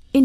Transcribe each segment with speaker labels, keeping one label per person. Speaker 1: verscheen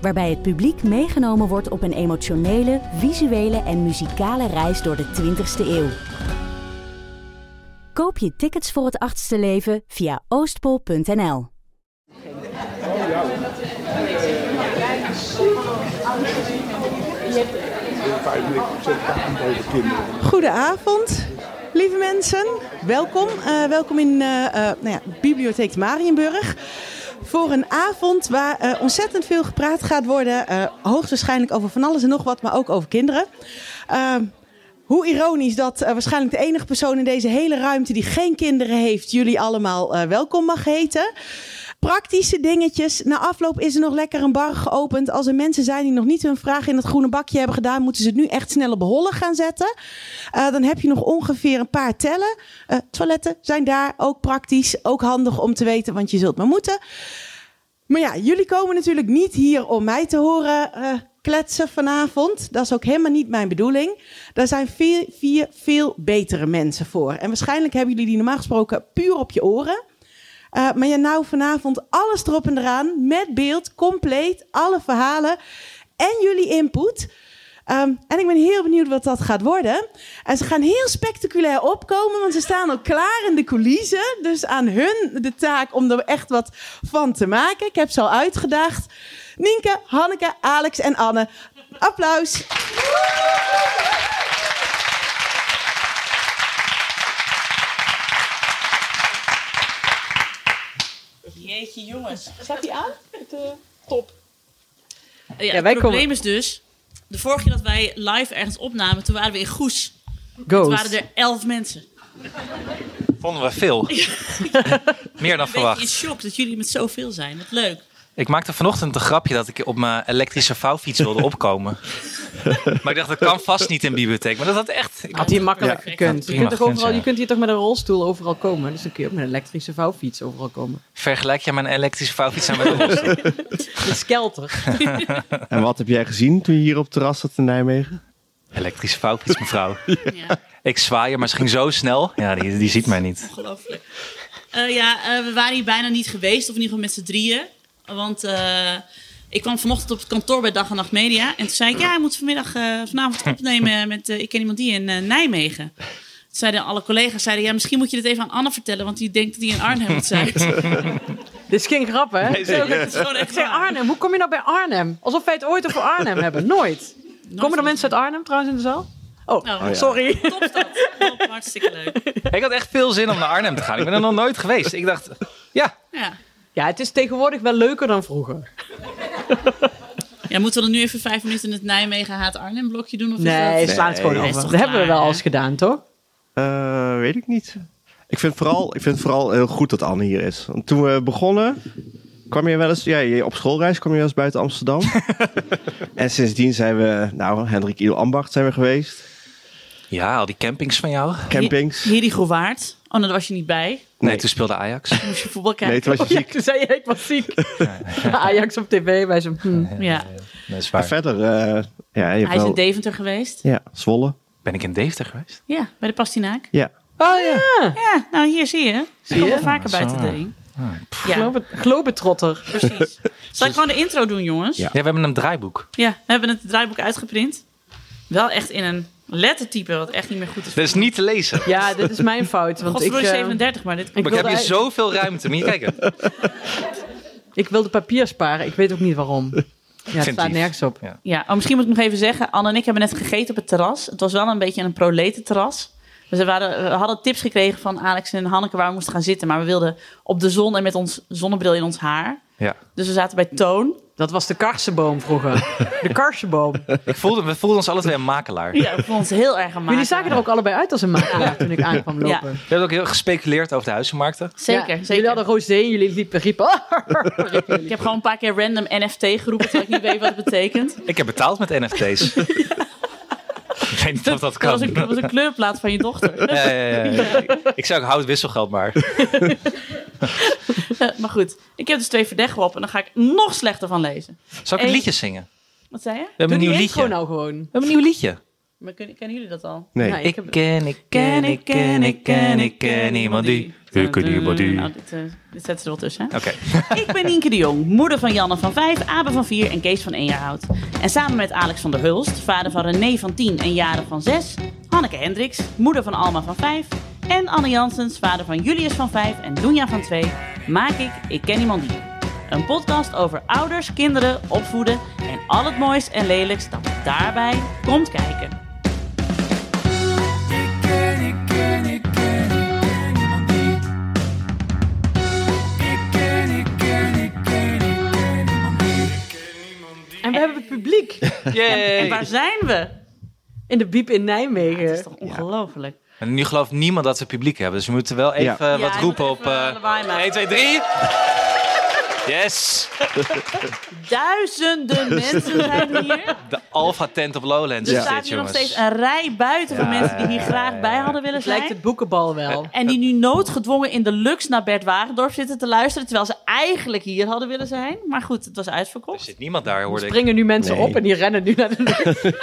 Speaker 1: Waarbij het publiek meegenomen wordt op een emotionele, visuele en muzikale reis door de 20ste eeuw. Koop je tickets voor het achtste leven via oostpol.nl.
Speaker 2: Goedenavond, lieve mensen. Welkom. Eh, welkom in eh, eh, nou ja, Bibliotheek Marienburg. Voor een avond waar eh, ontzettend veel gepraat gaat worden. eh, hoogstwaarschijnlijk over van alles en nog wat, maar ook over kinderen. Eh, hoe ironisch dat eh, waarschijnlijk de enige persoon in deze hele ruimte die geen kinderen heeft, jullie allemaal eh, welkom mag heten. Praktische dingetjes. Na afloop is er nog lekker een bar geopend. Als er mensen zijn die nog niet hun vraag in het groene bakje hebben gedaan, moeten ze het nu echt snel op hollen gaan zetten. Eh, dan heb je nog ongeveer een paar tellen. Eh, toiletten zijn daar ook praktisch, ook handig om te weten, want je zult maar moeten. Maar ja, jullie komen natuurlijk niet hier om mij te horen eh, kletsen vanavond. Dat is ook helemaal niet mijn bedoeling. Daar zijn veel, vier veel betere mensen voor. En waarschijnlijk hebben jullie die normaal gesproken puur op je oren. Eh, maar ja, nou vanavond alles erop en eraan. Met beeld, compleet, alle verhalen en jullie input. Ehm, en ik ben heel benieuwd wat dat gaat worden. En ze gaan heel spectaculair opkomen, want ze staan al klaar in de coulissen. Dus aan hun de taak om er echt wat van te maken. Ik heb ze al uitgedaagd. Nienke, Hanneke, Alex en Anne. Applaus.
Speaker 3: Jeetje jongens.
Speaker 2: Zet die aan? eh,
Speaker 3: Ja,
Speaker 2: wij
Speaker 3: het probleem
Speaker 2: komen-
Speaker 3: is dus, de vorige keer dat wij live ergens opnamen, toen waren we in Goes.
Speaker 2: Go.
Speaker 3: Toen waren er elf mensen.
Speaker 4: Vonden we veel. Meer dan
Speaker 3: Een beetje in
Speaker 4: verwacht.
Speaker 3: shock dat jullie met zoveel zijn. Wat leuk.
Speaker 4: Ik maakte vanochtend een grapje dat ik op mijn elektrische vouwfiets wilde opkomen. maar ik dacht, dat kan vast niet in bibliotheek. Maar dat had echt... Ik
Speaker 5: Had hij makkelijk
Speaker 3: Ja,
Speaker 5: gekund. Je
Speaker 4: prima
Speaker 5: kunt, toch
Speaker 4: gekund,
Speaker 5: overal,
Speaker 4: ja.
Speaker 5: je kunt hier toch met een rolstoel overal komen. Dus dan kun je ook met een elektrische vouwfiets overal komen.
Speaker 4: Vergelijk je mijn elektrische vouwfiets aan mijn rolstoel?
Speaker 5: De skelter.
Speaker 6: En wat heb jij gezien toen je hier op het terras zat in Nijmegen?
Speaker 4: Elektrische vouwfiets, mevrouw.
Speaker 3: Ja,
Speaker 4: Ik zwaai er, maar ze ging zo snel. Ja, die, die ziet mij niet.
Speaker 3: ongelooflijk. Eh, ja, eh, we waren hier bijna niet geweest, of in ieder geval met z'n drieën. Want eh, ik kwam vanochtend op het kantoor bij Dag en Nacht Media. En toen zei ik, ja, ik moet vanmiddag, eh, vanavond opnemen met, eh, ik ken iemand die in eh, Nijmegen. Toen zeiden alle collega's, zeiden, ja, misschien moet je dit even aan Anne vertellen, want die denkt dat die in Arnhem zit.
Speaker 5: Dit is geen grap, hè?
Speaker 3: Zo, dat is gewoon echt
Speaker 5: Bij
Speaker 3: waar.
Speaker 5: Arnhem. Hoe kom je nou bij Arnhem? Alsof wij het ooit over Arnhem hebben. Nooit. Komen er
Speaker 3: van-
Speaker 5: mensen uit Arnhem trouwens in de zaal? Oh,
Speaker 3: Oh, ja.
Speaker 5: sorry.
Speaker 3: Topstad. Top, hartstikke leuk.
Speaker 4: Ik had echt veel zin om naar Arnhem te gaan. Ik ben er nog nooit geweest. Ik dacht, ja,
Speaker 3: Ja.
Speaker 5: Ja, het is tegenwoordig wel leuker dan vroeger.
Speaker 3: ja, moeten we dan nu even vijf minuten in het Nijmegen haat Arnhem blokje doen? Of is
Speaker 5: Nee,
Speaker 3: dat...
Speaker 5: slaan het gewoon
Speaker 6: Nee,
Speaker 3: is
Speaker 5: over.
Speaker 3: toch
Speaker 5: Dat hebben we
Speaker 3: klaar,
Speaker 5: wel
Speaker 3: hè?
Speaker 5: eens gedaan, toch?
Speaker 6: Eh, weet ik niet. Ik vind, vooral, ik vind het vooral heel goed dat Anne hier is. Want toen we begonnen, kwam je wel eens... Ja, je- op schoolreis kwam je wel eens buiten Amsterdam. en sindsdien zijn we... Nou, Hendrik Iel Ambacht zijn we geweest.
Speaker 4: ja, al die campings van jou.
Speaker 6: Campings.
Speaker 3: Hedy Groewaard. Oh, daar was je niet bij.
Speaker 4: Nee,
Speaker 6: Nee.
Speaker 4: toen speelde Ajax.
Speaker 3: Toen moest je voetbal
Speaker 6: Nee,
Speaker 3: kijken.
Speaker 6: toen was je
Speaker 5: Oh, Ja,
Speaker 6: ziek.
Speaker 5: toen zei je, ik was ziek. Ajax op tv bij zo'n... hm.
Speaker 3: ja.
Speaker 4: Dat is
Speaker 6: Maar
Speaker 4: waar.
Speaker 6: verder, eh, ja, je hebt
Speaker 3: Hij is
Speaker 6: wel...
Speaker 3: in Deventer geweest.
Speaker 6: Ja, Zwolle.
Speaker 4: Ben ik in Deventer geweest?
Speaker 3: Ja, bij de Pastinaak.
Speaker 6: Ja.
Speaker 5: Oh ja,
Speaker 3: Ja, nou hier zie je. Ze
Speaker 5: je?
Speaker 3: komen
Speaker 6: Ah,
Speaker 3: vaker
Speaker 4: Ja,
Speaker 3: buiten
Speaker 4: zo.
Speaker 3: de ring. Ja,
Speaker 5: Globe- globetrotter.
Speaker 3: precies. Zal ik gewoon de intro doen, jongens?
Speaker 6: Ja.
Speaker 4: Ja, we hebben een draaiboek.
Speaker 3: Ja, we hebben het draaiboek uitgeprint. Wel echt in een lettertype, wat echt niet meer goed is.
Speaker 4: Dat is niet te lezen.
Speaker 5: Ja, dit is mijn fout. Want ik,
Speaker 3: Godverdomme
Speaker 5: eh,
Speaker 3: 37, maar dit...
Speaker 5: ik,
Speaker 4: Maar ik
Speaker 5: wilde,
Speaker 4: heb je
Speaker 5: eigenlijk-
Speaker 4: zoveel ruimte. Moet je kijken.
Speaker 5: ik wilde papier sparen. Ik weet ook niet waarom. Ja, het staat
Speaker 4: Inventief.
Speaker 5: nergens op.
Speaker 3: Ja, oh, misschien moet ik nog even zeggen. Anne en ik hebben net gegeten op het terras. Het was wel een beetje een proletenterras. Dus we, waren, we hadden tips gekregen van Alex en Hanneke waar we moesten gaan zitten. Maar we wilden op de zon en met ons zonnebril in ons haar.
Speaker 4: Ja.
Speaker 3: Dus we zaten bij Toon.
Speaker 5: Dat was de karsenboom vroeger. De karsenboom.
Speaker 4: Ik voelde, we voelden ons alle twee een makelaar.
Speaker 3: Ja, we vonden ons heel erg aan
Speaker 5: Jullie zagen er ook allebei uit als een makelaar toen ik aankwam lopen.
Speaker 3: Ja.
Speaker 4: We hebben ook heel gespeculeerd over de huizenmarkten.
Speaker 5: Ja,
Speaker 3: Zeker,
Speaker 5: Jullie
Speaker 3: zeker.
Speaker 5: hadden roze en jullie liepen riepen. "Ah!"
Speaker 3: Ik heb gewoon een paar keer random NFT geroepen, terwijl ik niet weet wat het betekent.
Speaker 4: Ik heb betaald met NFT's. weet niet of dat
Speaker 3: Dat was,
Speaker 4: kan.
Speaker 3: een, dat was een kleurplaat van je dochter.
Speaker 4: Ja, ja, ja. Ik zou ook hout wisselgeld maar.
Speaker 3: Eh, maar goed, ik heb dus twee verdechten op en dan ga ik nog slechter van lezen.
Speaker 4: Zal ik een
Speaker 3: Eén-
Speaker 4: liedje zingen? We
Speaker 3: Wat zei je?
Speaker 4: hebben een
Speaker 5: Doe
Speaker 4: nieuw
Speaker 5: die
Speaker 4: liedje.
Speaker 5: intro
Speaker 4: We
Speaker 5: nou gewoon.
Speaker 4: hebben een nieuw liedje.
Speaker 3: Maar kunnen, kennen jullie dat al?
Speaker 6: Nee.
Speaker 5: Nou, ik
Speaker 4: Ik
Speaker 5: heb-
Speaker 4: ken, ik ken, ik ken, ik ken, ik ken iemand die...
Speaker 3: Ik ken iemand die. Nou, dit, eh, dit zetten ze er wel tussen. hè?
Speaker 4: Oké.
Speaker 3: Ik ben Nienke de Jong, moeder van Janne van 5, Abe van 4 en Kees van 1 jaar oud. En samen met Alex van der Hulst, vader van René van 10 en Jaren van 6, Hanneke Hendricks, moeder van Alma van 5, en Anne Jansens, vader van Julius van 5 en Doenja van 2, maak ik Ik Ken Iemand Die. Een podcast over ouders, kinderen, opvoeden en al het moois en lelijks dat daarbij komt kijken.
Speaker 5: En we hebben het publiek
Speaker 3: En waar zijn we?
Speaker 5: in de Biep in Nijmegen.
Speaker 3: Het is toch ongelooflijk.
Speaker 4: En nu gelooft niemand dat ze publiek hebben, dus we moeten wel even
Speaker 3: Ja,
Speaker 4: eh, wat
Speaker 3: ik
Speaker 4: roepen
Speaker 3: moet
Speaker 4: op...
Speaker 3: even
Speaker 4: eh,
Speaker 3: lawaai maken.
Speaker 4: 1, 2, 3. Yes!
Speaker 3: Duizenden mensen zijn hier.
Speaker 4: De Alpha Tent of Lowlands
Speaker 3: Er
Speaker 4: is
Speaker 3: staat
Speaker 4: dit,
Speaker 3: hier nog
Speaker 4: jongens.
Speaker 3: steeds een rij buiten van mensen die hier graag bij hadden willen
Speaker 5: het lijkt
Speaker 3: zijn.
Speaker 5: het boekenbal wel.
Speaker 3: En die nu noodgedwongen in de Lux naar Bert Wagendorp zitten te luisteren. Terwijl ze eigenlijk hier hadden willen zijn. Maar goed, het was
Speaker 4: Er
Speaker 3: uitverkocht.
Speaker 4: zit niemand daar, hoorde ik.
Speaker 5: Springen nu mensen
Speaker 6: Nee.
Speaker 5: op en die rennen nu naar de lucht.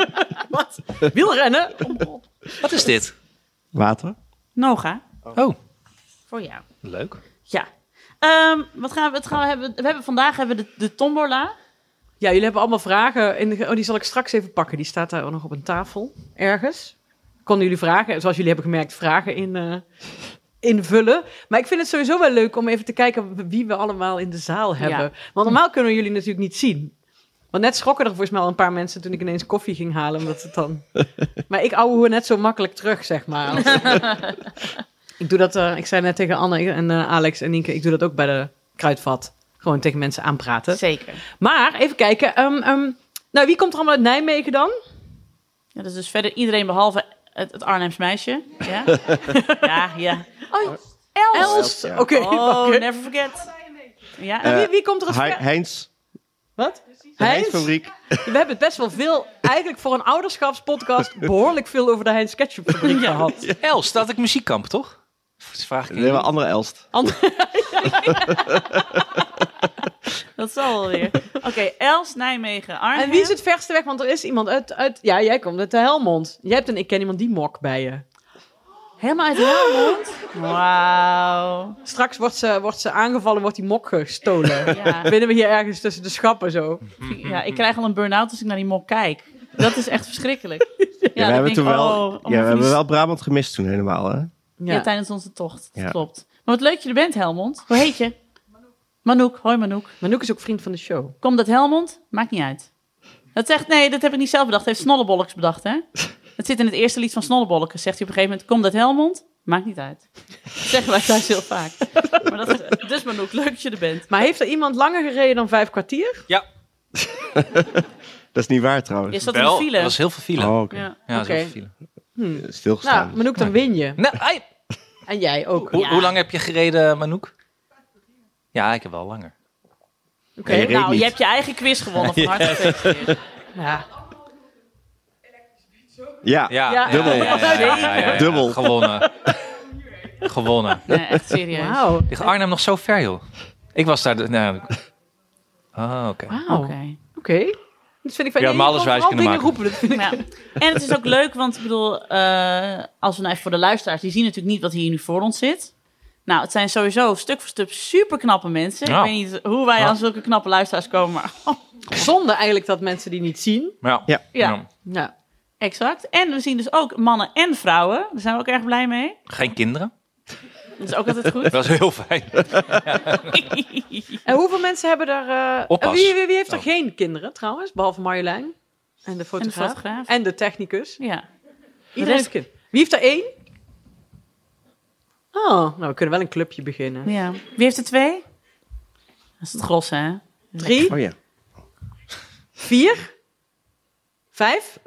Speaker 5: Wat? Wielrennen?
Speaker 4: Wat is dit?
Speaker 6: Water?
Speaker 3: Noga,
Speaker 4: Oh,
Speaker 3: voor jou.
Speaker 4: leuk.
Speaker 3: Ja. Ehm, wat gaan we, het gaan we, hebben, we hebben vandaag hebben we de, de tombola.
Speaker 5: Ja, jullie hebben allemaal vragen. In de- oh, die zal ik straks even pakken. Die staat daar ook nog op een tafel ergens. Konden jullie vragen, zoals jullie hebben gemerkt, vragen in, eh, invullen. Maar ik vind het sowieso wel leuk om even te kijken wie we allemaal in de zaal hebben.
Speaker 3: Ja.
Speaker 5: Want normaal kunnen we jullie natuurlijk niet zien. Want net schrokken er volgens mij al een paar mensen toen ik ineens koffie ging halen. Omdat het dan... maar ik ouwe hoe net zo makkelijk terug, zeg maar. ik doe dat, eh, ik zei net tegen Anne en eh, Alex en Nienke, ik doe dat ook bij de kruidvat. Gewoon tegen mensen aanpraten.
Speaker 3: Zeker.
Speaker 5: Maar even kijken. ehm, ehm, nou, wie komt er allemaal uit Nijmegen dan?
Speaker 3: Ja, dat is dus verder iedereen behalve het, het Arnhems meisje. Ja, ja. ja. Oh, Els.
Speaker 5: Els.
Speaker 6: ja.
Speaker 5: Oké.
Speaker 3: Oh,
Speaker 5: oké.
Speaker 3: never Eh, forget. Ja,
Speaker 5: En wie, wie komt er uit?
Speaker 6: Hei- Heinz.
Speaker 5: Wat?
Speaker 6: De
Speaker 5: Heinz?
Speaker 6: Heinz-fabriek.
Speaker 5: We hebben het best wel veel, eigenlijk voor een ouderschapspodcast, behoorlijk veel over de Heinz Ketchupfabriek gehad.
Speaker 4: Els, staat ik muziekkamp, toch? Dat vraag ik
Speaker 6: Nee, maar
Speaker 4: niet.
Speaker 6: andere Elst.
Speaker 3: dat zal wel weer. Oké, Els, Nijmegen, Arnhem.
Speaker 5: En wie is het verste weg? Want er is iemand uit, uit ja, jij komt uit de Helmond. Jij hebt een Ik ken iemand die mok bij je.
Speaker 3: Helemaal uit Helmond. Wauw.
Speaker 5: Straks wordt ze, wordt ze aangevallen, wordt die mok gestolen.
Speaker 3: Ja.
Speaker 5: Binnen we hier ergens tussen de schappen zo.
Speaker 3: ja, ik krijg al een burn-out als ik naar die mok kijk. Dat is echt verschrikkelijk. Ja,
Speaker 6: Ja, we
Speaker 3: dan
Speaker 6: hebben
Speaker 3: denk
Speaker 6: toen
Speaker 3: ik,
Speaker 6: wel,
Speaker 3: oh,
Speaker 6: ja,
Speaker 3: oh,
Speaker 6: we
Speaker 3: van die
Speaker 6: hebben wel Brabant gemist toen helemaal, hè?
Speaker 3: Ja. tijdens onze tocht. Dat
Speaker 6: Ja.
Speaker 3: klopt. Maar wat leuk dat je er bent, Helmond. Hoe heet je? Manouk. Hoi Manouk.
Speaker 5: Manouk is ook vriend van de show.
Speaker 3: Komt dat Helmond? Maakt niet uit. Dat zegt, nee, dat heb ik niet zelf bedacht. Dat heeft Snollebolleks bedacht, hè? Dat zit in het eerste lied van Snollebolleks. Zegt hij op een gegeven moment, komt dat Helmond? Maakt niet uit. Dat zeggen wij thuis heel vaak. Maar dat is, dus Manouk, leuk dat je er bent.
Speaker 5: Maar heeft er iemand langer gereden dan vijf kwartier?
Speaker 4: Ja,
Speaker 6: Dat is niet waar trouwens.
Speaker 3: Is dat
Speaker 4: wel.
Speaker 3: een file?
Speaker 4: Dat was heel veel file.
Speaker 6: Oh, oké.
Speaker 3: Ja.
Speaker 4: Ja, dat was heel
Speaker 5: Oké.
Speaker 4: veel file.
Speaker 6: Stilgestaan.
Speaker 5: Nou, Manouk, dan win je.
Speaker 4: Nou, ai,
Speaker 5: En jij ook.
Speaker 4: hoe,
Speaker 3: Ja.
Speaker 4: hoe lang heb je gereden, Manouk? Ja, ik heb wel langer.
Speaker 5: Oké.
Speaker 6: Nee, je reed
Speaker 3: nou,
Speaker 6: niet.
Speaker 3: je hebt je eigen quiz gewonnen. Van harte gefeliciteerd.
Speaker 5: Ja.
Speaker 6: Ja.
Speaker 4: Ja,
Speaker 5: Ja.
Speaker 4: dubbel.
Speaker 5: Ja, ja, ja, ja, ja.
Speaker 6: Dubbel.
Speaker 4: Gewonnen. Gewonnen.
Speaker 3: Nee, echt serieus.
Speaker 5: Wauw.
Speaker 4: Ligt Arnhem nog zo ver, joh? Ik was daar... de- Nou, ah, oké.
Speaker 5: Wauw. Oké.
Speaker 3: Oké.
Speaker 5: Dat vind ik fijn.
Speaker 4: Ja,
Speaker 5: Je
Speaker 4: maar alles
Speaker 5: kon
Speaker 4: wijs
Speaker 5: vooral
Speaker 4: kunnen
Speaker 5: dingen
Speaker 4: maken.
Speaker 5: roepen. Dat vind ik
Speaker 3: Ja. En het is ook leuk, want ik bedoel, eh, als we nou even voor de luisteraars, die zien natuurlijk niet wat hier nu voor ons zit. Nou, het zijn sowieso stuk voor stuk super knappe mensen.
Speaker 4: Ja.
Speaker 3: Ik weet niet hoe wij
Speaker 4: Ja.
Speaker 3: aan zulke knappe luisteraars komen, maar
Speaker 5: zonde eigenlijk dat mensen die niet zien.
Speaker 4: Ja.
Speaker 6: Ja.
Speaker 3: Ja.
Speaker 5: Ja.
Speaker 3: exact. En we zien dus ook mannen en vrouwen. Daar zijn we ook erg blij mee.
Speaker 4: Geen kinderen.
Speaker 3: Dat is ook altijd goed.
Speaker 4: Dat is heel fijn.
Speaker 5: En hoeveel mensen hebben daar... eh,
Speaker 4: Oppas.
Speaker 5: en Wie, wie, wie heeft er
Speaker 4: Oh.
Speaker 5: geen kinderen trouwens? Behalve Marjolein. En de fotograaf. En de,
Speaker 3: fotograaf.
Speaker 5: technicus.
Speaker 3: ja.
Speaker 5: Iedereen
Speaker 3: rest-
Speaker 5: heeft een kind. Wie heeft er één? Oh, nou we kunnen wel een clubje beginnen.
Speaker 3: ja. Wie heeft er twee? Dat is het gros, hè?
Speaker 5: Drie,
Speaker 6: Oh ja.
Speaker 5: vier, vijf,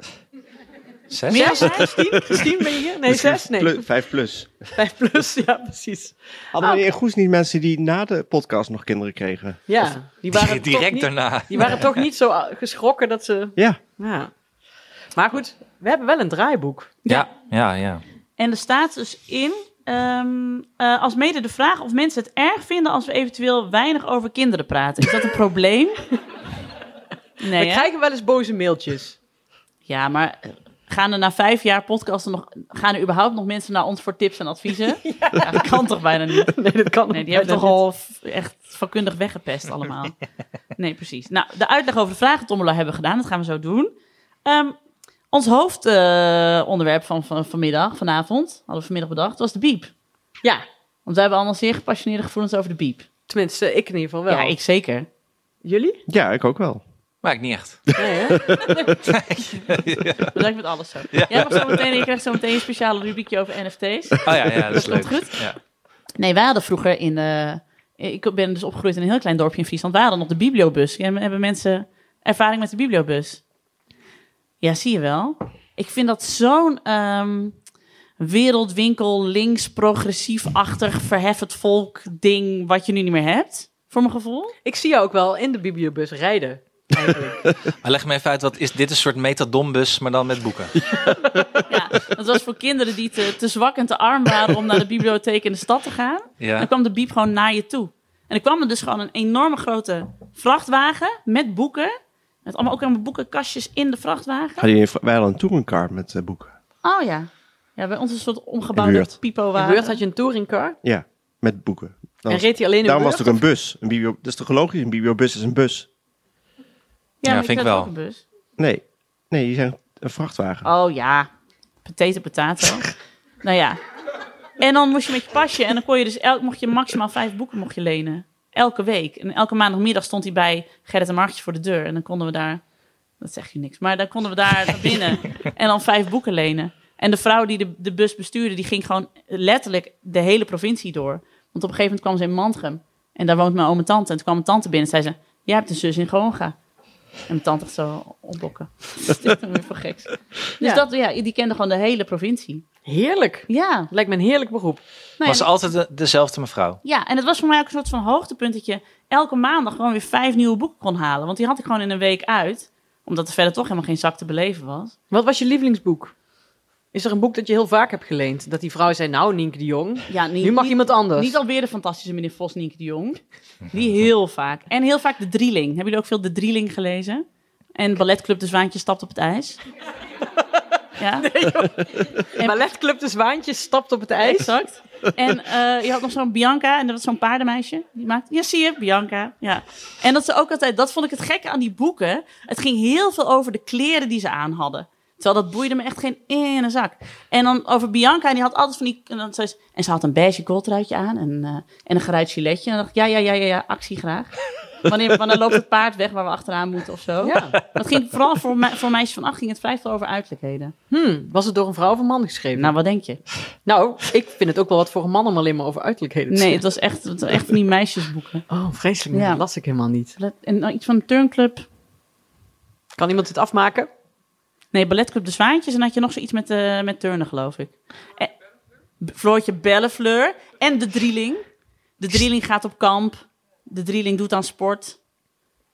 Speaker 4: Zes?
Speaker 3: Meer
Speaker 5: zes,
Speaker 3: dan vijf?
Speaker 5: Christine, Christine ben je hier? Nee,
Speaker 6: Misschien
Speaker 5: zes, nee,
Speaker 6: plu- vijf plus.
Speaker 5: vijf plus, ja precies.
Speaker 6: Hadden
Speaker 5: Oh.
Speaker 6: we in Goes niet mensen die na de podcast nog kinderen kregen?
Speaker 5: Ja, die waren
Speaker 4: Direct
Speaker 5: toch niet, ah,
Speaker 4: daarna.
Speaker 5: Die waren toch niet zo geschrokken dat ze.
Speaker 6: Ja.
Speaker 5: Ja. Maar goed, we hebben wel een draaiboek.
Speaker 4: Ja, ja, ja.
Speaker 3: En er staat dus in, ehm, eh, als mede de vraag of mensen het erg vinden als we eventueel weinig over kinderen praten. Is dat een probleem?
Speaker 5: we
Speaker 3: Nee, hè?
Speaker 5: krijgen wel eens boze mailtjes.
Speaker 3: Ja, maar eh, gaan er na vijf jaar podcasten nog, gaan er überhaupt nog mensen naar ons voor tips en adviezen? ja. dat kan toch bijna niet?
Speaker 5: Nee, dat kan
Speaker 3: Nee, die hebben
Speaker 5: bijna
Speaker 3: toch al f- echt vakkundig weggepest allemaal. Nee, precies. Nou, de uitleg over de vragentombola hebben we gedaan. Dat gaan we zo doen. Ehm, ons hoofdonderwerp eh, van, van vanmiddag, vanavond, hadden we vanmiddag bedacht, was de biep.
Speaker 5: niet. Ja,
Speaker 3: Want wij hebben allemaal zeer gepassioneerde gevoelens over de biep.
Speaker 5: tenminste, ik in ieder geval wel.
Speaker 3: Ja, ik zeker.
Speaker 5: Jullie?
Speaker 6: Ja, ik ook wel.
Speaker 4: Maar ik niet echt.
Speaker 5: Nee, hè?
Speaker 3: Dat lijkt met alles zo. Jij mag zo meteen, je krijgt zo meteen een speciale rubriekje over NFT's.
Speaker 4: Oh ja, ja dat is
Speaker 3: Dat
Speaker 4: leuk.
Speaker 3: komt goed.
Speaker 4: Ja.
Speaker 3: Nee, wij hadden vroeger in... eh, ik ben dus opgegroeid in een heel klein dorpje in Friesland. Wij hadden nog de bibliobus. Ja, Hebben mensen ervaring met de bibliobus? Ja, zie je wel. Ik vind dat zo'n ehm, wereldwinkel, links, progressief-achtig, verheffend volk ding... wat je nu niet meer hebt, voor mijn gevoel.
Speaker 5: ik zie jou ook wel in de bibliobus rijden. Eigenlijk.
Speaker 4: Maar leg me even uit, wat is dit een soort metadombus, maar dan met boeken?
Speaker 3: Ja, dat was voor kinderen die te, te zwak en te arm waren... om naar de bibliotheek in de stad te gaan.
Speaker 4: Ja.
Speaker 3: Dan kwam de biep gewoon naar je toe. En er kwam er dus gewoon een enorme grote vrachtwagen met boeken. Met allemaal ook allemaal boekenkastjes in de vrachtwagen.
Speaker 6: Hadden jullie, wij hadden een touringcar met eh, boeken.
Speaker 3: Oh ja. Ja, bij ons is een soort
Speaker 6: In
Speaker 3: omgebouwde
Speaker 6: Weert.
Speaker 3: pipo
Speaker 5: In
Speaker 3: wagen.
Speaker 5: Beurt had je een touringcar
Speaker 6: Ja, met boeken. Dan
Speaker 5: en
Speaker 6: was-
Speaker 5: reed hij alleen in
Speaker 6: daarom was
Speaker 5: Beurt?
Speaker 6: het ook een bus. Een biblio, dat is toch logisch? Een bibliobus is een bus.
Speaker 3: ja, maar
Speaker 4: Ja,
Speaker 3: je
Speaker 4: vind ik
Speaker 3: zet
Speaker 4: wel.
Speaker 3: ook een bus.
Speaker 6: Nee, nee, die zijn een vrachtwagen.
Speaker 3: Oh ja. Potato, potato. nou ja. En dan moest je met je pasje en dan kon je dus elk, mocht je maximaal vijf boeken mocht je lenen. Elke week. En elke maandagmiddag stond hij bij Gerrit en Martje voor de deur. En dan konden we daar, dat zeg je niks, maar dan konden we daar naar binnen en dan vijf boeken lenen. En de vrouw die de, de bus bestuurde, die ging gewoon letterlijk de hele provincie door. Want op een gegeven moment kwam ze in Mantrum. En daar woont mijn oom en tante. En toen kwam mijn tante binnen en zei ze, jij hebt een zus in Groningen. En mijn tante echt zo opbokken. Wat is dit dan weer voor geks? Dus
Speaker 5: Ja.
Speaker 3: dat, ja, die kende gewoon de hele provincie.
Speaker 5: Heerlijk.
Speaker 3: Ja.
Speaker 5: Lijkt me een heerlijk beroep.
Speaker 3: Nou ja,
Speaker 4: Was altijd de- dezelfde mevrouw.
Speaker 3: ja, en het was voor mij ook een soort van hoogtepunt dat je elke maandag gewoon weer vijf nieuwe boeken kon halen. Want die had ik gewoon in een week uit, omdat er verder toch helemaal geen zak te beleven was.
Speaker 5: Wat was je lievelingsboek? Is er een boek dat je heel vaak hebt geleend? Dat die vrouw zei, nou Nienke de Jong,
Speaker 3: Ja, niet,
Speaker 5: nu mag
Speaker 3: niet,
Speaker 5: iemand anders.
Speaker 3: niet alweer de fantastische meneer Vos, Nienke de Jong. Die heel vaak. En heel vaak De Drieling. Hebben jullie ook veel De Drieling gelezen? En Balletclub De Zwaantje stapt op het ijs. Ja?
Speaker 5: Balletclub De Zwaantjes stapt op het ijs.
Speaker 3: Exact. En eh, je had nog zo'n Bianca, en dat was zo'n paardenmeisje. Die maakte, ja, zie je, Bianca. Ja. En dat ze ook altijd, dat vond ik het gekke aan die boeken. Het ging heel veel over de kleren die ze aan hadden. Terwijl dat boeide me echt geen ene zak. En dan over Bianca, en die had altijd van die... En, dan zei ze, en ze had een beige coltruitje aan en, eh, en een geruit giletje. En dan dacht ik, ja, ja, ja, ja, ja actie graag. Wanneer, wanneer loopt het paard weg waar we achteraan moeten of zo?
Speaker 5: Ja.
Speaker 3: Dat ging vooral voor, me, voor meisjes van acht ging het vrij veel over uiterlijkheden.
Speaker 5: Hmm, was het door een vrouw of een man geschreven?
Speaker 3: Nou, wat denk je?
Speaker 5: Nou, ik vind het ook wel wat voor een man om alleen maar over uiterlijkheden te
Speaker 3: Nee, het was echt, het was echt van die meisjesboeken.
Speaker 5: Oh, vreselijk.
Speaker 3: Ja.
Speaker 5: Dat las ik helemaal niet.
Speaker 3: Ballet- En nou, iets van een turnclub.
Speaker 5: Kan iemand dit afmaken?
Speaker 3: Nee, balletclub De Zwaantjes. En dan had je nog zoiets met, eh, met turnen, geloof ik. En, B- Floortje Bellefleur. En De Drieling. De Drieling gaat op kamp. De Drieling doet aan sport.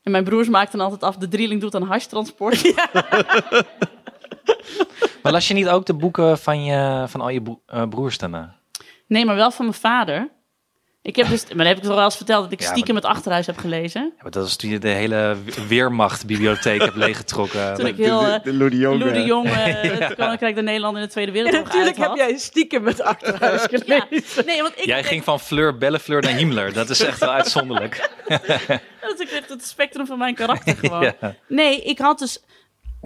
Speaker 3: En mijn broers maakten altijd af, De Drieling doet aan hashtransport. Ja.
Speaker 4: Maar las je niet ook de boeken van, je, van al je bro- eh, broers daarna?
Speaker 3: Nee, maar wel van mijn vader. Ik heb dus, maar dat heb ik toch wel eens verteld, dat ik
Speaker 4: Ja, maar-
Speaker 3: stiekem het Achterhuis heb gelezen.
Speaker 4: Ja, maar dat is toen je de hele Weermachtbibliotheek hebt leeggetrokken.
Speaker 3: Toen ik heel... eh,
Speaker 6: de, de Lou de Jong,
Speaker 3: Lou de
Speaker 6: eh,
Speaker 3: Jong, eh, het Koninkrijk der Nederlanden in de Tweede
Speaker 5: En
Speaker 3: Wereldoorlog
Speaker 5: natuurlijk
Speaker 3: uit
Speaker 5: heb
Speaker 3: had.
Speaker 5: jij stiekem het achterhuis gelezen.
Speaker 3: Nee, want ik
Speaker 4: Jij ging van Fleur Bellefleur naar Himmler. Dat is echt wel uitzonderlijk.
Speaker 3: Dat is echt het spectrum van mijn karakter gewoon.
Speaker 4: Ja.
Speaker 3: Nee, ik had dus...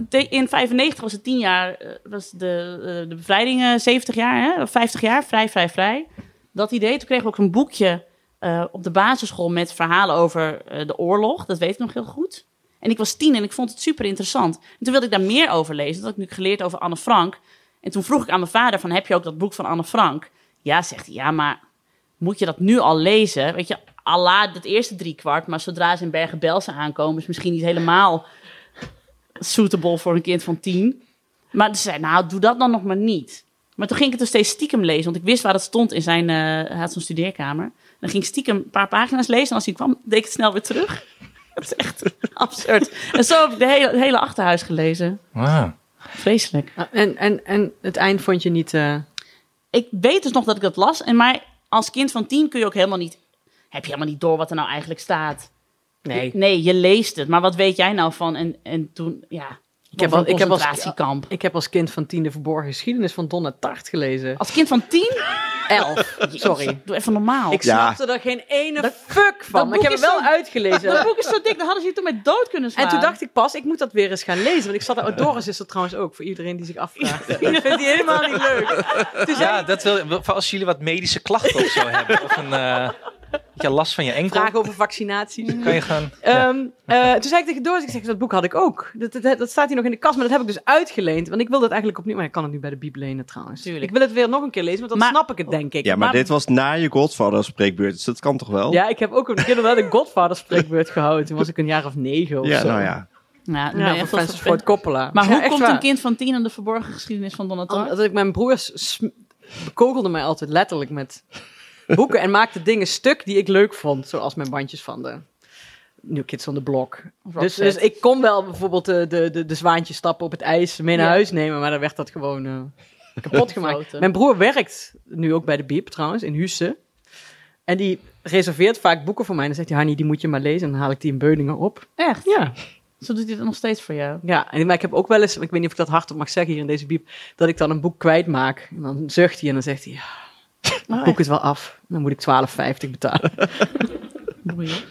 Speaker 3: de- In 95 was het 10 jaar, eh, was de, eh, de bevrijding eh, 70 jaar, hè? of 50 jaar, vrij, vrij, vrij. Dat idee. Toen kregen we ook een boekje eh, op de basisschool met verhalen over eh, de oorlog. Dat weet ik nog heel goed. En ik was tien en ik vond het super interessant. En toen wilde ik daar meer over lezen. Dat had ik nu geleerd over Anne Frank. En toen vroeg ik aan mijn vader van, heb je ook dat boek van Anne Frank? Ja, zegt hij, ja, maar moet je dat nu al lezen? Weet je, Allah dat eerste driekwart, maar zodra ze in Bergen-Belsen aankomen, is misschien niet helemaal suitable voor een kind van tien. Maar ze zei, nou, doe dat dan nog maar niet. Maar toen ging ik het dus steeds stiekem lezen, want ik wist waar dat stond in zijn, eh, hij had zo'n studeerkamer. En dan ging ik stiekem een paar pagina's lezen en als hij kwam, deed ik het snel weer terug. Dat is echt absurd. En zo heb ik de hele, het hele achterhuis gelezen.
Speaker 4: Wauw.
Speaker 3: Vreselijk.
Speaker 5: Nou, En, en, en het eind vond je niet... eh,
Speaker 3: Ik weet dus nog dat ik dat las. En maar als kind van tien kun je ook helemaal niet... Heb je helemaal niet door wat er nou eigenlijk staat.
Speaker 5: nee.
Speaker 3: Nee, je leest het. Maar wat weet jij nou van? En, en toen, ja... Ik
Speaker 5: heb al- ik heb als-
Speaker 3: concentratiekamp.
Speaker 5: Ik heb als kind van tien de verborgen geschiedenis van Donna Tart gelezen.
Speaker 3: Als kind van tien?
Speaker 5: Elf. Sorry.
Speaker 3: Doe even normaal.
Speaker 5: Ik
Speaker 6: Ja.
Speaker 5: snapte er geen ene fuck van. Maar
Speaker 3: boek
Speaker 5: ik heb het
Speaker 3: is
Speaker 5: wel
Speaker 3: zo- dat
Speaker 5: uitgelezen.
Speaker 3: boek is zo dik, dan hadden ze je toen met dood kunnen slaan.
Speaker 5: En toen dacht ik pas, ik moet dat weer eens gaan lezen. Want ik zat er... Doris is er trouwens ook, voor iedereen die zich afvraagt. Ik vind die helemaal niet leuk.
Speaker 4: Ja, dat wil, voor als jullie wat medische klachten of zo hebben. Of een eh, ja, last van je enkel.
Speaker 5: Vragen over vaccinaties.
Speaker 4: Kan je gaan... Ja.
Speaker 5: Ehm, eh, toen zei ik tegen Doris, ik zeg, dat boek had ik ook. Dat, dat, dat staat hier nog in de kast, maar dat heb ik dus uitgeleend. Want ik wil dat eigenlijk opnieuw... Maar ik kan het nu bij de Bib lenen trouwens.
Speaker 3: Tuurlijk.
Speaker 5: Ik wil het weer nog een keer lezen, want dan
Speaker 3: Maar-
Speaker 5: snap ik het, denk ik.
Speaker 6: Ja, maar dit was na je Godfather spreekbeurt, dus dat kan toch wel?
Speaker 5: Ja, ik heb ook een keer inderdaad een Godfather spreekbeurt gehouden. Toen was ik een jaar of negen of
Speaker 6: Ja,
Speaker 5: zo.
Speaker 6: nou ja.
Speaker 3: Ja, dan ben je
Speaker 5: Ja,
Speaker 3: echt
Speaker 5: van
Speaker 3: wel
Speaker 5: Francis
Speaker 3: vervelend.
Speaker 5: Ford Coppola.
Speaker 3: Maar
Speaker 5: Ja,
Speaker 3: hoe
Speaker 5: echt
Speaker 3: komt
Speaker 5: waar. Oh, dus,
Speaker 3: een kind van tien aan de verborgen geschiedenis van Donald Trump?
Speaker 5: Omdat ik mijn broers sm- bekogelden mij altijd letterlijk met boeken en maakte dingen stuk die ik leuk vond. Zoals mijn bandjes van de New Kids on the Block. Dus, dus
Speaker 6: eh,
Speaker 5: ik kon wel bijvoorbeeld de, de, de, de zwaantjes stappen op het ijs mee naar
Speaker 3: Ja.
Speaker 5: huis nemen, maar dan werd dat gewoon eh, kapot gemaakt.
Speaker 3: Gefloten.
Speaker 5: Mijn broer werkt nu ook bij de Biep trouwens, in Husse. En die reserveert vaak boeken voor mij. En dan zegt hij, Hanni, die moet je maar lezen. En dan haal ik die in Beuningen op.
Speaker 3: Echt?
Speaker 5: Ja,
Speaker 3: Zo doet hij dat nog steeds voor jou.
Speaker 5: ja, en, maar ik heb ook wel eens, ik weet niet of ik dat hardop mag zeggen hier in deze biep, dat ik dan een boek kwijtmaak. En dan zucht hij en dan zegt hij, Ah, ja, het boek is wel af. Dan moet ik 12,50 betalen.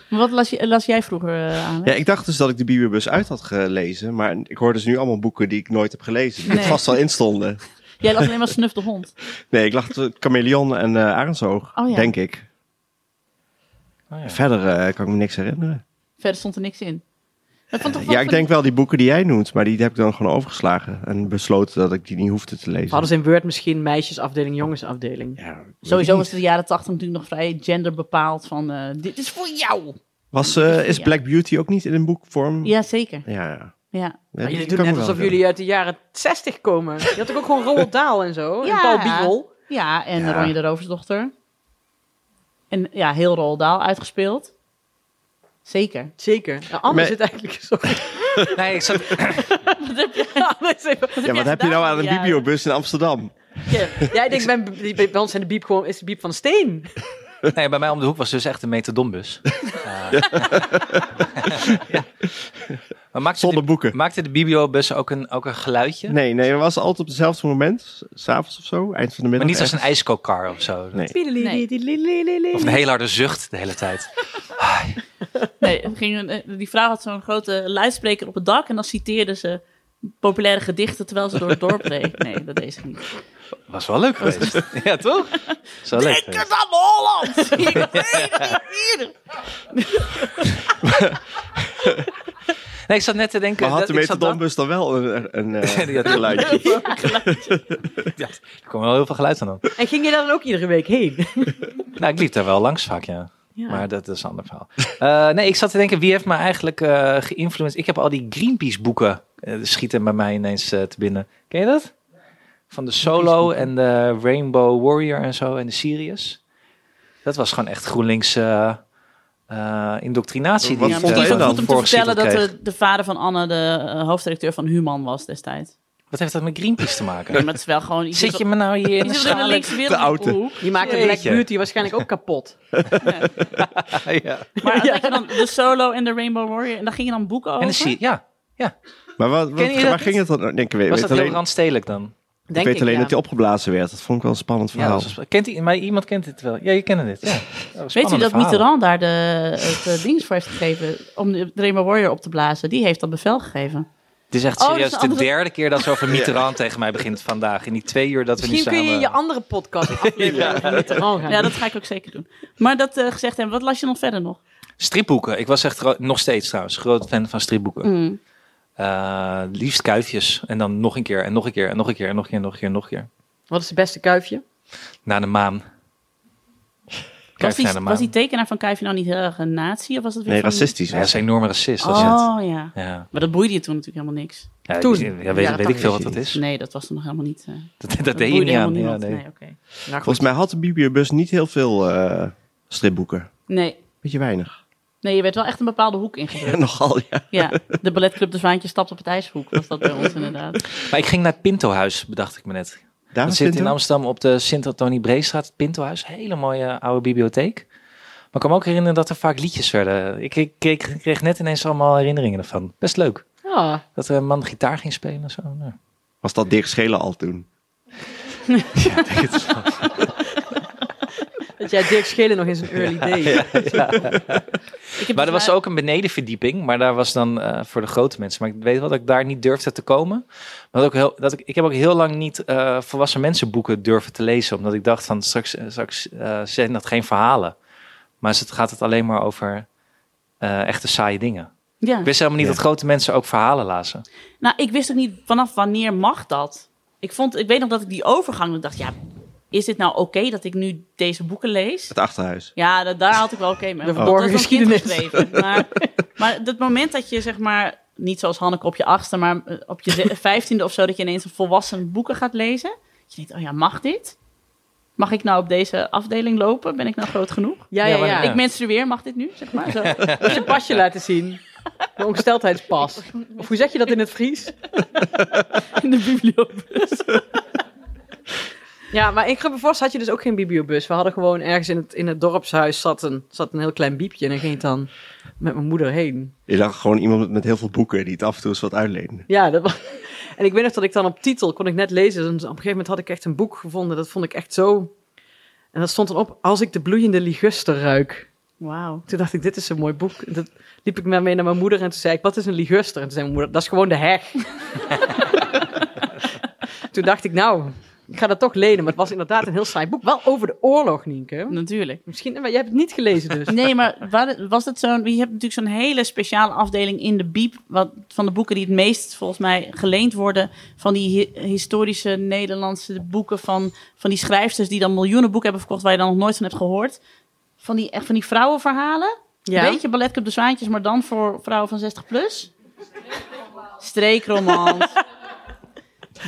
Speaker 3: Maar wat las, je, las jij vroeger eh, aan?
Speaker 6: Ja, ik dacht dus dat ik de Bieberbus uit had gelezen, maar ik hoor dus nu allemaal boeken die ik nooit heb gelezen, die er
Speaker 3: Nee.
Speaker 6: vast wel in stonden.
Speaker 3: Jij las alleen maar Snuf de Hond.
Speaker 6: Nee, ik dacht eh, Chameleon en eh Arendshoog,
Speaker 3: Oh ja.
Speaker 6: denk ik.
Speaker 4: Oh ja.
Speaker 6: Verder eh, kan ik me niks herinneren.
Speaker 3: Verder stond er niks in. Maar ik vond toch wel
Speaker 6: Ja, ik
Speaker 3: van-
Speaker 6: denk wel die boeken die jij noemt, maar die heb ik dan gewoon overgeslagen en besloten dat ik die niet hoefde te lezen.
Speaker 5: We hadden ze in Word misschien meisjesafdeling, jongensafdeling.
Speaker 6: Ja, weet ik
Speaker 3: Sowieso
Speaker 6: niet.
Speaker 3: was het de jaren tachtig natuurlijk nog vrij gender bepaald van eh, dit is voor jou.
Speaker 6: Was, eh, is
Speaker 3: Ja.
Speaker 6: Black Beauty ook niet in een boekvorm?
Speaker 3: Ja, zeker.
Speaker 6: Ja, ja.
Speaker 3: Ja.
Speaker 5: Maar jullie doen net alsof jullie uit de jaren 60 komen. Je had toch ook gewoon Roald Dahl en zo? En
Speaker 3: Ja.
Speaker 5: Paul Biegel.
Speaker 3: ja, en
Speaker 6: Ja.
Speaker 3: Ronja de Roversdochter. En ja, heel Roald Dahl uitgespeeld. Zeker.
Speaker 5: Zeker. Ja, Anne
Speaker 6: Maar-
Speaker 5: zit eigenlijk... Sorry.
Speaker 4: Nee, ik zat,
Speaker 5: Anne is even-
Speaker 6: Ja, wat heb je nou aan een
Speaker 3: Ja.
Speaker 6: bibliobus in Amsterdam?
Speaker 5: ja, ik denk, bij, bij- bij ons zijn de biep gewoon, is de biep van steen.
Speaker 4: nee, bij mij om de hoek was dus echt een metadonbus. Eh, ja. Maar maakte
Speaker 6: Zonder
Speaker 4: de,
Speaker 6: boeken.
Speaker 4: maakte de bibliobus ook een, ook een geluidje?
Speaker 6: Nee, nee, we was altijd op hetzelfde moment, s'avonds of zo, eind van de middag.
Speaker 4: Maar niet als een
Speaker 6: ergens.
Speaker 4: ijskokar of zo.
Speaker 6: Nee.
Speaker 4: Of een heel harde zucht de hele tijd.
Speaker 3: Nee, het ging een- eh, die vrouw had zo'n grote luidspreker op het dak en dan citeerde ze populaire gedichten terwijl ze door het dorp reed. Nee, dat deed ze niet.
Speaker 4: Was wel leuk geweest. ja, toch? Is wel leuk
Speaker 3: Denk
Speaker 4: geweest.
Speaker 3: eens aan Holland! Ik weet het niet meer.
Speaker 4: Nee, ik zat net te denken...
Speaker 6: Maar had
Speaker 4: dat-
Speaker 6: de
Speaker 4: ik zat dan-
Speaker 6: metadonbus dan wel een, een, eh,
Speaker 4: Die had-
Speaker 6: geluidje?
Speaker 4: Ja, er kwam wel heel veel geluid aan op.
Speaker 5: En ging je daar dan ook iedere week heen?
Speaker 4: Nou, ik liep daar wel langs vaak, ja.
Speaker 5: Ja.
Speaker 4: Maar dat is een ander verhaal. Eh, nee, ik zat te denken, wie heeft me eigenlijk eh geïnfluenced? Ik heb al die Greenpeace boeken eh, schieten bij mij ineens eh, te binnen. Ken je dat? Van de Solo en de Rainbow Warrior en zo en de Sirius. Dat was gewoon echt GroenLinks eh, eh, indoctrinatie. die
Speaker 6: Wat
Speaker 3: Ja,
Speaker 4: ik,
Speaker 3: misschien
Speaker 6: vond
Speaker 4: eh,
Speaker 3: is
Speaker 6: jij
Speaker 3: het
Speaker 6: dan?
Speaker 3: goed om te
Speaker 4: voorgeschoteld
Speaker 3: vertellen dat
Speaker 4: kreeg.
Speaker 3: de, de vader van Anne de eh, hoofdredacteur van Human was destijds.
Speaker 4: Wat heeft dat met Greenpeace te maken?
Speaker 3: Nee, maar het is wel gewoon... Je
Speaker 4: Zit
Speaker 3: zit
Speaker 4: je me nou hier
Speaker 3: wel-
Speaker 4: in
Speaker 3: je
Speaker 4: de
Speaker 3: zit wel in de
Speaker 4: schaal?
Speaker 3: linkse wereld
Speaker 6: Te oud, hè?
Speaker 3: op de hoek.
Speaker 5: Die maakte
Speaker 4: Jeetje.
Speaker 5: Black Beauty waarschijnlijk ook kapot.
Speaker 4: Ja.
Speaker 3: Maar dan had je dan de Solo en de Rainbow Warrior en daar ging je dan boeken over.
Speaker 4: En de Sirius, ja.
Speaker 6: Maar wat, wat,
Speaker 4: Ken je dat
Speaker 6: waar
Speaker 4: niet?
Speaker 6: ging het dan? Nee, ik weet,
Speaker 4: Was
Speaker 6: weet
Speaker 4: dat heel
Speaker 6: alleen,
Speaker 4: randstedelijk dan?
Speaker 6: ik
Speaker 5: Denk
Speaker 6: weet alleen
Speaker 5: ja.
Speaker 6: dat hij opgeblazen werd. Dat vond ik wel een spannend
Speaker 4: Ja,
Speaker 6: verhaal.
Speaker 4: dat is wel- kent i- maar iemand kent dit wel. Ja, je kent het. Ja.
Speaker 3: Weet u
Speaker 4: Spannende
Speaker 3: dat
Speaker 4: verhalen.
Speaker 3: Mitterrand daar de, het eh, ding voor heeft gegeven om de Rainbow Warrior op te blazen? Die heeft dat bevel gegeven.
Speaker 4: Het is echt
Speaker 3: Oh, dat
Speaker 4: serieus
Speaker 3: is een
Speaker 4: de
Speaker 3: andere-
Speaker 4: derde keer dat ze over Mitterrand tegen mij begint vandaag. In die twee uur dat we nu
Speaker 5: Misschien kun
Speaker 4: samen...
Speaker 5: je in je andere podcast aflevering van Mitterrand gaan
Speaker 3: Ja,
Speaker 5: doen.
Speaker 3: dat ga ik ook zeker doen. Maar dat eh, gezegd hebben, wat las je dan verder nog?
Speaker 4: Stripboeken. Ik was echt gro- nog steeds trouwens groot fan van stripboeken.
Speaker 3: Mm.
Speaker 4: Eh, liefst kuifjes. En dan nog een keer en nog een keer en nog een keer en nog een keer en nog een keer en nog een keer.
Speaker 5: Wat is het beste kuifje?
Speaker 4: Naar de maan.
Speaker 3: Was
Speaker 4: Kuif
Speaker 3: die,
Speaker 4: naar de maan.
Speaker 3: was die tekenaar van Kuifje nou niet heel erg een nazi? Of was dat weer
Speaker 6: nee,
Speaker 3: van-
Speaker 6: racistisch.
Speaker 4: Ja, dat is een enorme racist. Dat is het.
Speaker 3: Oh ja.
Speaker 4: Ja.
Speaker 3: Maar dat boeide je toen natuurlijk helemaal niks.
Speaker 4: Ja,
Speaker 5: Toen.
Speaker 4: ja, weet,
Speaker 5: Ja,
Speaker 4: weet
Speaker 5: dat
Speaker 4: ik veel wat
Speaker 6: is
Speaker 4: dat is.
Speaker 3: Nee, dat was er nog helemaal niet. eh,
Speaker 4: Dat, dat,
Speaker 3: dat
Speaker 4: deed je
Speaker 3: boeide
Speaker 4: niet aan.
Speaker 3: helemaal
Speaker 4: Ja,
Speaker 3: niemand.
Speaker 4: nee.
Speaker 3: nee. oké.
Speaker 5: Nou, goed.
Speaker 6: Volgens mij had de bibliobus niet heel veel eh, stripboeken.
Speaker 3: nee,
Speaker 6: Beetje weinig.
Speaker 3: Nee, je werd wel echt een bepaalde hoek ingedrukt.
Speaker 6: Nogal, ja.
Speaker 3: Ja, de balletclub De Zwaantje stapt op het ijshoek. Was dat bij ons inderdaad.
Speaker 4: Maar ik ging naar het Pintohuis, bedacht ik me net.
Speaker 6: Daar
Speaker 4: Dat
Speaker 6: is
Speaker 4: zit
Speaker 6: Pinto.
Speaker 4: in Amsterdam op de Sint-Antonie Breestraat, het Pintohuis. Hele mooie oude bibliotheek. Maar ik kan me ook herinneren dat er vaak liedjes werden. Ik kreeg, kreeg- kreeg net ineens allemaal herinneringen ervan. Best leuk.
Speaker 5: Ja.
Speaker 4: Dat er een man gitaar ging spelen of zo. Nou. Ja.
Speaker 6: Was dat Dirk Schelen al toen?
Speaker 5: Dat jij Dirk Schelen nog in zijn early days.
Speaker 3: Ik heb
Speaker 4: Maar er
Speaker 3: dus
Speaker 4: was ook een benedenverdieping, maar daar was dan eh, voor de grote mensen. Maar ik weet wel dat ik daar niet durfde te komen. Maar dat ook heel, dat ik, ik heb ook heel lang niet eh, volwassen mensenboeken durven te lezen, omdat ik dacht van straks, eh, straks eh, zijn dat geen verhalen. Maar het gaat het alleen maar over eh, echte saaie dingen.
Speaker 3: Ja.
Speaker 4: Ik wist helemaal niet
Speaker 6: Ja.
Speaker 4: dat grote mensen ook verhalen lazen.
Speaker 3: Nou, ik wist ook niet vanaf wanneer mag dat. Ik, vond, ik weet nog dat ik die overgang ik dacht, ja, is dit nou oké dat ik nu deze boeken lees?
Speaker 6: Het Achterhuis.
Speaker 3: Ja, da- daar had ik wel oké mee.
Speaker 5: De
Speaker 3: Want dat was
Speaker 5: verborgen
Speaker 3: als kind
Speaker 5: geschiedenis.
Speaker 3: geschreven. Maar, maar het moment dat je, zeg maar, niet zoals Hanneke op je achtste, maar eh, op je ze- vijftiende of zo, dat je ineens een volwassen boeken gaat lezen. Dat je denkt, oh ja, mag dit? Mag ik nou op deze afdeling lopen? Ben ik nou groot genoeg?
Speaker 5: Ja,
Speaker 4: Ja,
Speaker 5: ja,
Speaker 4: maar-
Speaker 5: ja.
Speaker 3: Ik menstrueer, mag dit nu? Zeg maar, zo.
Speaker 5: Ik moet je pasje laten zien. Een ongesteldheidspas. Of hoe zeg je dat in het Fries?
Speaker 3: In de bibliotheek.
Speaker 5: Ja, maar in Grubbenvorst had je dus ook geen bibliobus. We hadden gewoon ergens in het, in het dorpshuis zat een, zat een heel klein biepje. En dan ging ik dan met mijn moeder heen.
Speaker 6: Je lag gewoon iemand met heel veel boeken die het af en toe eens wat uitleende.
Speaker 5: Ja, dat was... En ik weet nog dat ik dan op titel kon ik net lezen. En op een gegeven moment had ik echt een boek gevonden. Dat vond ik echt zo... En dat stond dan op, als ik de bloeiende liguster ruik.
Speaker 3: Wauw.
Speaker 5: Toen dacht ik, dit is een mooi boek. En Dat liep ik maar mee naar mijn moeder en toen zei ik, wat is een liguster? En toen zei mijn moeder, dat is gewoon de heg. toen dacht ik, nou, ik ga dat toch lenen. Maar het was inderdaad een heel saai boek. Wel over de oorlog, Nienke.
Speaker 3: Natuurlijk.
Speaker 5: Misschien, maar jij hebt het niet gelezen dus.
Speaker 3: Nee, maar wa- was het zo'n... Je hebt natuurlijk zo'n hele speciale afdeling in de biep... Wat, van de boeken die het meest volgens mij geleend worden... van die hi- historische Nederlandse boeken van, van die schrijfsters... die dan miljoenen boeken hebben verkocht... waar je dan nog nooit van hebt gehoord. Van die, echt van die vrouwenverhalen.
Speaker 5: Ja.
Speaker 3: Een beetje balletclub de Zwaantjes... maar dan voor vrouwen van 60 plus. Streekromans.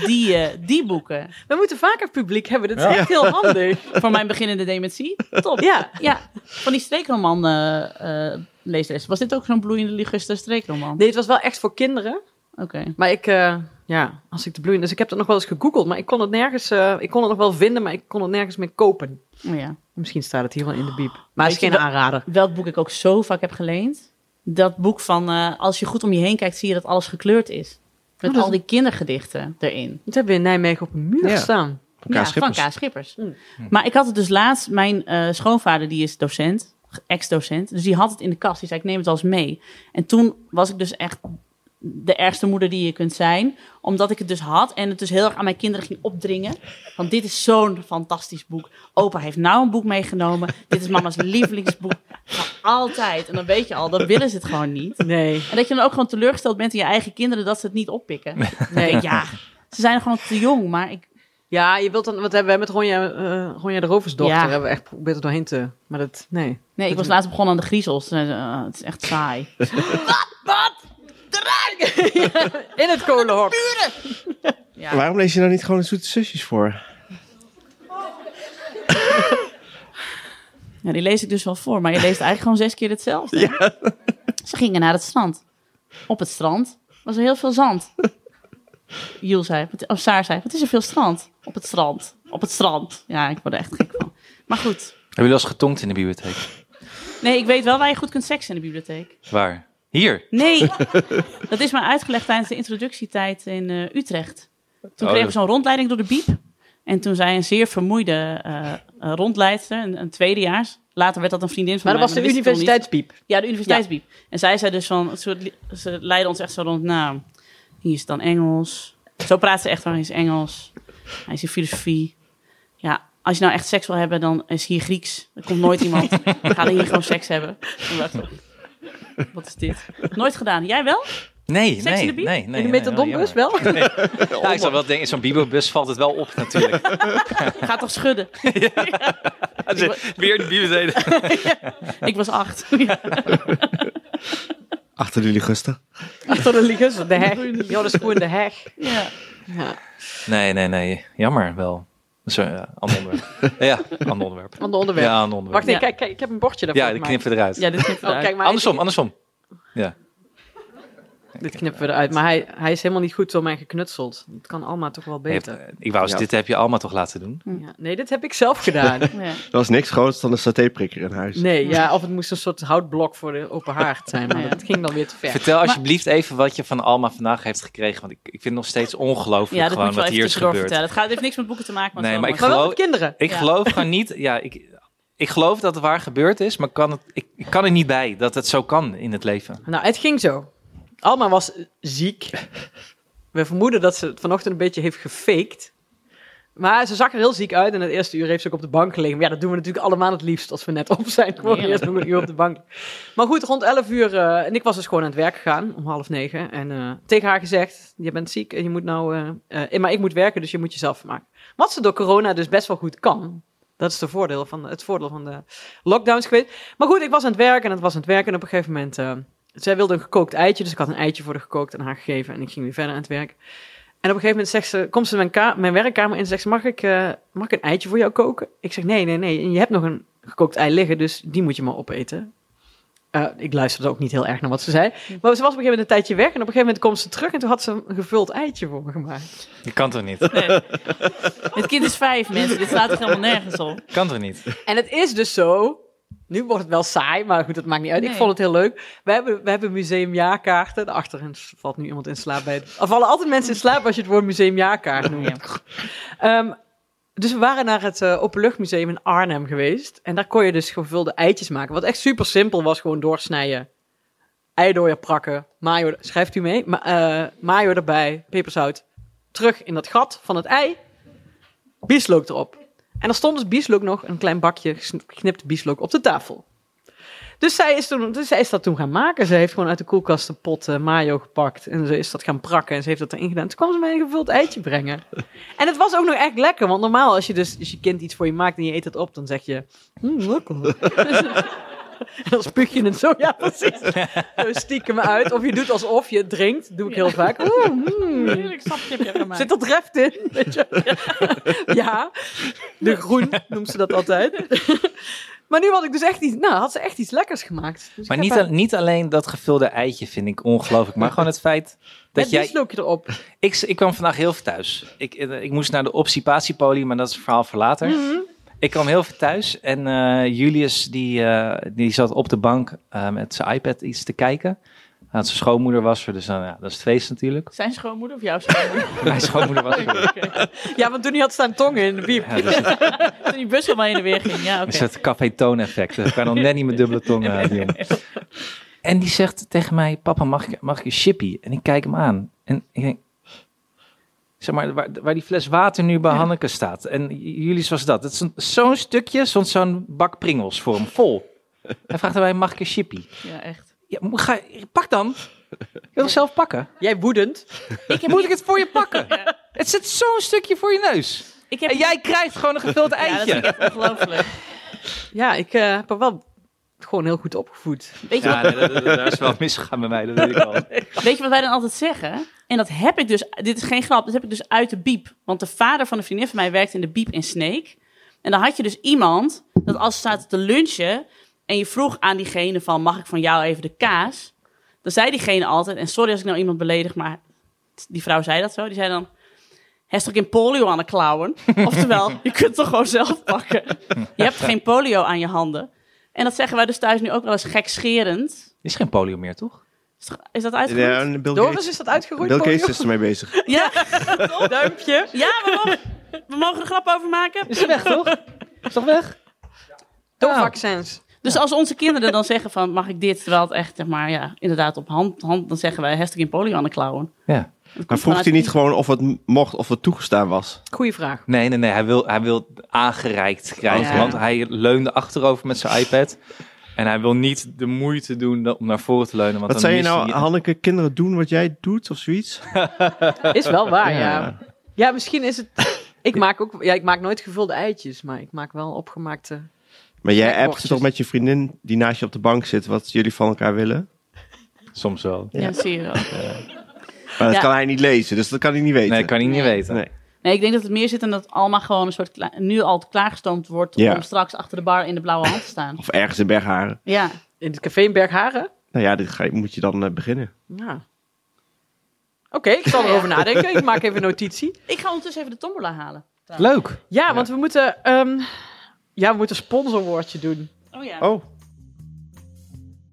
Speaker 3: Die, eh, die boeken.
Speaker 5: We moeten vaker publiek hebben. Dat is echt heel handig.
Speaker 3: Voor mijn beginnende dementie. Top.
Speaker 5: Ja.
Speaker 3: Ja, van die streekroman eh, eh, leesles. Was dit ook zo'n bloeiende liguster streekroman?
Speaker 5: Nee, het was wel echt voor kinderen.
Speaker 3: Oké.
Speaker 5: Maar ik, eh, ja, als ik de bloeiende... Dus ik heb dat nog wel eens gegoogeld. Maar ik kon het nergens... eh, ik kon het nog wel vinden, maar ik kon het nergens meer kopen.
Speaker 3: Oh ja.
Speaker 5: Misschien staat het hier wel in de biep. Maar het is
Speaker 3: Weet je
Speaker 5: geen
Speaker 3: wel-
Speaker 5: aanrader.
Speaker 3: Welk boek ik ook zo vaak heb geleend. Dat boek van eh, als je goed om je heen kijkt, zie je dat alles gekleurd is. Met
Speaker 5: Oh, dat is-
Speaker 3: al die kindergedichten erin.
Speaker 5: Dat hebben we in Nijmegen op een muur
Speaker 6: Ja.
Speaker 5: staan.
Speaker 6: Van Kaas
Speaker 3: ja, van
Speaker 6: Schippers.
Speaker 3: K. Schippers.
Speaker 5: Mm.
Speaker 3: Maar ik had het dus laatst, mijn eh, schoonvader die is docent, ex-docent. Dus die had het in de kast. Die zei, ik neem het als mee. En toen was ik dus echt de ergste moeder die je kunt zijn. Omdat ik het dus had en het dus heel erg aan mijn kinderen ging opdringen. Want dit is zo'n fantastisch boek. Opa heeft nou een boek meegenomen. Dit is mama's lievelingsboek. Van altijd. En dan weet je al, dan willen ze het gewoon niet.
Speaker 5: Nee.
Speaker 3: En dat je dan ook gewoon teleurgesteld bent in je eigen kinderen dat ze het niet oppikken. Nee, ja. Ze zijn gewoon te jong, maar ik,
Speaker 5: Ja, je wilt dan, wat hebben we met Ronja, eh Ronja de Roversdochter?
Speaker 3: Ja.
Speaker 5: Hebben we echt geprobeerd er doorheen te. Maar dat, nee.
Speaker 3: Nee, ik was laatst begonnen aan de griezels. Toen zei ze, "Ah, het is echt saai.
Speaker 5: In het kolenhok.
Speaker 3: Ja.
Speaker 6: Waarom lees je nou niet gewoon de zoete zusjes voor?
Speaker 3: Ja, die lees ik dus wel voor, maar je leest eigenlijk gewoon zes keer hetzelfde. Ze gingen naar het strand. Op het strand was er heel veel zand. Jules zei, wat- of Saar zei, wat is er veel strand? Op het strand. Op het strand. Ja, ik word er echt gek van. Maar goed.
Speaker 4: Hebben jullie wel eens getongd in de bibliotheek?
Speaker 3: Nee, ik weet wel waar je goed kunt seksen in de bibliotheek.
Speaker 4: Waar? Hier.
Speaker 3: Nee, dat is mij uitgelegd tijdens de introductietijd in eh, Utrecht. Toen
Speaker 4: Oh,
Speaker 3: kregen we
Speaker 4: dat-
Speaker 3: zo'n rondleiding door de biep. En toen zei een zeer vermoeide eh, eh, rondleidster, een, een tweedejaars. Later werd dat een vriendin van
Speaker 5: Maar dat
Speaker 3: mij.
Speaker 5: was de
Speaker 3: wist ik toen niet.
Speaker 5: universiteitspiep.
Speaker 3: Ja, de universiteitsbiep. En zij zei dus van, ze, li- ze leidde ons echt zo rond, nou, hier is dan Engels. Zo praat ze echt van, hij is Engels. Hij is in filosofie. Ja, als je nou echt seks wil hebben, dan is hier Grieks. Er komt nooit iemand. We gaan hier gewoon seks hebben. En we dachten, Wat is dit? Nooit gedaan. Jij wel?
Speaker 4: Nee,
Speaker 3: Seks in
Speaker 4: nee,
Speaker 3: de biep?
Speaker 4: nee, nee.
Speaker 5: In de
Speaker 4: nee,
Speaker 5: metadombus
Speaker 4: heel jammer.
Speaker 5: wel?
Speaker 4: Ja, ik zou wel denken, in zo'n bibelbus valt het wel op natuurlijk.
Speaker 3: Ga toch schudden.
Speaker 4: Weer de bibliotheek.
Speaker 3: Ik was acht. Ja.
Speaker 6: Achter jullie gusten.
Speaker 5: Achter de liggers, de heg. Ja, dat is gewoon de heg.
Speaker 3: Ja.
Speaker 5: Ja.
Speaker 4: Nee, nee, nee. Jammer wel. Sorry, ja, eh, ander onderwerp. ja, ander onderwerp.
Speaker 5: Ander onderwerp.
Speaker 4: Ja, ander onderwerp.
Speaker 5: Wacht even,
Speaker 3: Ja.
Speaker 5: kijk, kijk, ik heb een bordje daarvoor
Speaker 4: ja, die
Speaker 5: gemaakt.
Speaker 4: knippen we eruit.
Speaker 3: Ja, dit knippen we
Speaker 5: Oh,
Speaker 3: eruit.
Speaker 5: kijk, maar
Speaker 4: andersom,
Speaker 5: ik-
Speaker 4: andersom. Ja.
Speaker 5: Dit knippen we eruit, maar hij, hij is helemaal niet goed door mij geknutseld. Het kan allemaal toch wel
Speaker 4: Heeft-
Speaker 5: beter.
Speaker 4: ik wou eens,
Speaker 6: Ja.
Speaker 4: dit heb je allemaal toch laten doen?
Speaker 5: Ja, nee, dit heb ik zelf gedaan.
Speaker 3: Ja.
Speaker 6: Er was niks groters dan een satéprikker in huis.
Speaker 5: Nee, ja, of het moest een soort houtblok voor de open haard zijn, maar dat ging dan weer te ver.
Speaker 4: Vertel alsjeblieft even wat je van Alma vandaag heeft gekregen. Want ik, ik vind het nog steeds ongelooflijk
Speaker 3: Ja, dat moet
Speaker 4: gewoon
Speaker 3: je wel
Speaker 4: wat
Speaker 3: even
Speaker 4: hier is
Speaker 3: tussendoor
Speaker 4: gebeurd.
Speaker 3: vertellen. Het, gaat, het heeft niks met boeken te maken.
Speaker 4: Nee,
Speaker 3: wel
Speaker 4: maar
Speaker 3: met-
Speaker 5: Maar wel
Speaker 4: geloof-
Speaker 5: met kinderen.
Speaker 4: Ik
Speaker 3: Ja.
Speaker 4: geloof gewoon niet. Ja, ik, ik geloof dat het waar gebeurd is, maar kan het, ik, ik kan er niet bij dat het zo kan in het leven.
Speaker 5: Nou, het ging zo. Alma was eh, ziek. We vermoeden dat ze het vanochtend een beetje heeft gefaked. Maar ze zag er heel ziek uit en het eerste uur heeft ze ook op de bank gelegen. Maar ja, dat doen we natuurlijk allemaal het liefst als we net op zijn. Gewoon
Speaker 3: Ja.
Speaker 5: eerst nog een uur op de bank. Maar goed, rond 11 uur, eh, en ik was dus gewoon aan het werk gegaan om half negen. En eh, tegen haar gezegd, je bent ziek en je moet nou, eh, eh, maar ik moet werken, dus je moet jezelf maken. Wat ze door corona dus best wel goed kan. Dat is de voordeel van de- het voordeel van de lockdowns geweest. Maar goed, ik was aan het werk en het was aan het werk. En op een gegeven moment, eh, zij wilde een gekookt eitje. Dus ik had een eitje voor haar gekookt en haar gegeven. En ik ging weer verder aan het werk. En op een gegeven moment zegt ze, komt ze mijn, ka- mijn werkkamer in en zegt ze, mag ik, eh, mag ik een eitje voor jou koken? Ik zeg, nee, nee, nee. En je hebt nog een gekookt ei liggen, dus die moet je maar opeten. Eh, ik luisterde ook niet heel erg naar wat ze zei. Maar ze was op een gegeven moment een tijdje weg. En op een gegeven moment komt ze terug en toen had ze een gevuld eitje voor me gemaakt.
Speaker 4: Je kan toch niet?
Speaker 3: Nee. Het kind is vijf, mensen. Dit slaat toch helemaal nergens op.
Speaker 4: Kan toch niet?
Speaker 5: En het is dus zo. Nu wordt het wel saai, maar goed, dat maakt niet uit. Ik
Speaker 3: Nee.
Speaker 5: vond het heel leuk. We hebben, we hebben museumjaarkaarten. Daarachterin valt nu iemand in slaap bij. Het, er vallen altijd mensen in slaap als je het woord museumjaarkaart noemt. Ehm, dus we waren naar het eh, Openluchtmuseum in Arnhem geweest. En daar kon je dus gevulde eitjes maken. Wat echt super simpel was, gewoon doorsnijden. Eidooier prakken, mayo, schrijft u mee, ma eh, mayo erbij, peperzout. Terug in dat gat van het ei, bieslook erop. En er stond dus bieslook nog, een klein bakje gesn- geknipt bieslook op de tafel. Dus zij, is toen, dus zij is dat toen gaan maken. Ze heeft gewoon uit de koelkast een pot eh, mayo gepakt. En ze is dat gaan prakken en ze heeft dat erin gedaan. Toen kwam ze mij een gevuld eitje brengen. En het was ook nog echt lekker. Want normaal, als je dus als je kind iets voor je maakt en je eet het op, dan zeg je... "Mm, lekker. En dan spuug je het zo, ja precies. Zo stiekem uit. Of je doet alsof je het drinkt. doe ik heel vaak. Oeh,
Speaker 4: Hmm.
Speaker 5: mm.
Speaker 3: Heerlijk sapje heb je gemaakt.
Speaker 5: Zit dat reft in? Weet je? ja, de groen noemt ze dat altijd. maar nu had ik dus echt iets, nou had ze echt iets lekkers gemaakt. Dus ik
Speaker 4: Maar
Speaker 5: heb
Speaker 4: niet,
Speaker 5: haar-
Speaker 4: al- niet alleen dat gevulde eitje vind ik ongelooflijk, maar gewoon het feit dat
Speaker 5: het
Speaker 4: jij...
Speaker 5: bieslookje erop.
Speaker 4: Ik, ik kwam vandaag heel veel thuis. Ik, eh, ik moest naar de obstipatiepolie, maar dat is een verhaal voor later. Ik kwam heel veel thuis en eh, Julius die, eh, die zat op de bank eh, met zijn iPad iets te kijken. Nou, zijn schoonmoeder was er, dus dan, ja, dat is het feest natuurlijk.
Speaker 3: Zijn schoonmoeder of jouw schoonmoeder?
Speaker 4: Mijn schoonmoeder was er.
Speaker 5: Ja, want toen hij had staan tongen in de biep.
Speaker 4: Ja, dat is het,
Speaker 3: Toen die bus helemaal heen en weer ging. Ja, oké.
Speaker 4: is het café toon effect. Ik kan nog net niet met dubbele tong. eh, die jongen. en die zegt tegen mij, papa mag ik, mag ik een chippy? En ik kijk hem aan. En ik denk, zeg maar, waar, waar die fles water nu bij Hanneke staat. En j- jullie was dat. Het is een- zo'n stukje, zo'n zo'n bak pringels voor hem, vol. Hij vraagt aan mij, mag ik een chippy?
Speaker 3: Ja, echt.
Speaker 4: Ja, mo- ga, pak dan. Ik wil hem zelf pakken.
Speaker 5: Jij woedend.
Speaker 4: Moet ik het voor je pakken? Het zit zo'n stukje voor je neus.
Speaker 3: Ik heb...
Speaker 4: En jij krijgt gewoon een gevuld
Speaker 3: Ja, dat
Speaker 4: eitje.
Speaker 3: vind ik echt ongelooflijk.
Speaker 5: Ja, ik eh, heb haar wel gewoon heel goed opgevoed.
Speaker 3: Weet je,
Speaker 4: Ja, nee, dat- dat- daar is wel misgegaan bij mij, dat weet ik wel.
Speaker 3: wat, weet je wat wij dan altijd zeggen? En dat heb ik dus... Dit is geen grap. Dat heb ik dus uit de biep. Want de vader van een vriendin van mij werkte in de biep in Sneek. En dan had je dus iemand... Dat als ze zaten te lunchen... En je vroeg aan diegene van... Mag ik van jou even de kaas? Dan zei diegene altijd... En sorry als ik nou iemand beledig, maar... Die vrouw zei dat zo. Die zei dan... Hij is toch geen polio aan de klauwen? Oftewel, je kunt het toch gewoon zelf pakken. Je hebt geen polio aan je handen. En dat zeggen wij dus thuis nu ook wel eens gekscherend.
Speaker 4: Is geen polio meer, toch?
Speaker 3: Is dat- Is dat
Speaker 6: En,
Speaker 3: uitgeroeid?
Speaker 6: eh, en Bill
Speaker 5: Doris
Speaker 6: Gates,
Speaker 5: dus is dat uitgeroeid
Speaker 6: Bill
Speaker 5: voor
Speaker 6: Gates
Speaker 5: je?
Speaker 6: is ermee bezig.
Speaker 3: Ja,
Speaker 5: Duimpje.
Speaker 3: ja we, mogen, we mogen er grap over maken.
Speaker 4: Is weg, toch? Is toch weg?
Speaker 5: Door vaccins.
Speaker 3: Dus als onze kinderen dan zeggen van, mag ik dit? Terwijl het echt, zeg maar, ja, inderdaad op hand, hand dan zeggen wij, hashtag in polio aan de klauwen.
Speaker 4: Ja.
Speaker 6: Maar vroeg hij niet gewoon of het m- mocht, of het toegestaan was?
Speaker 5: Goeie vraag.
Speaker 4: Nee, nee, nee. Hij wil, hij wil aangereikt krijgen.
Speaker 3: Ja.
Speaker 4: Want hij leunde achterover met zijn iPad. En hij wil niet de moeite doen om naar voren te leunen. Want dan
Speaker 6: Wat zei je
Speaker 4: mist
Speaker 6: nou,
Speaker 4: hij-
Speaker 6: Hanneke, kinderen doen wat jij doet of zoiets?
Speaker 5: Is wel waar, ja. Ja, misschien is het... Ik maak, ook, ja, ik maak nooit gevulde eitjes, maar ik maak wel opgemaakte
Speaker 6: Maar jij
Speaker 5: Snackboxjes.
Speaker 6: appt toch met je vriendin die naast je op de bank zit wat jullie van elkaar willen?
Speaker 4: Soms wel.
Speaker 3: Ja, dat zie je wel.
Speaker 6: Maar dat
Speaker 3: Ja.
Speaker 6: kan hij niet lezen, dus dat kan hij niet weten.
Speaker 4: Nee, dat kan hij niet weten.
Speaker 6: Nee.
Speaker 3: Nee, ik denk dat het meer zit in dat Alma gewoon een soort kla- nu al klaargestoomd wordt
Speaker 6: Ja.
Speaker 3: om straks achter de bar in de blauwe hand te staan.
Speaker 6: Of ergens in Bergharen.
Speaker 3: Ja.
Speaker 5: In het café in Bergharen?
Speaker 6: Nou ja, dit ga, je- moet je dan eh, beginnen.
Speaker 5: Ja. Oké, ik zal erover nadenken. Ik maak even notitie.
Speaker 3: Ik ga ondertussen even de tombola halen.
Speaker 4: Leuk.
Speaker 5: Ja, want we moeten... ehm, ja, we moeten sponsorwoordje doen.
Speaker 3: Oh ja.
Speaker 6: Oh,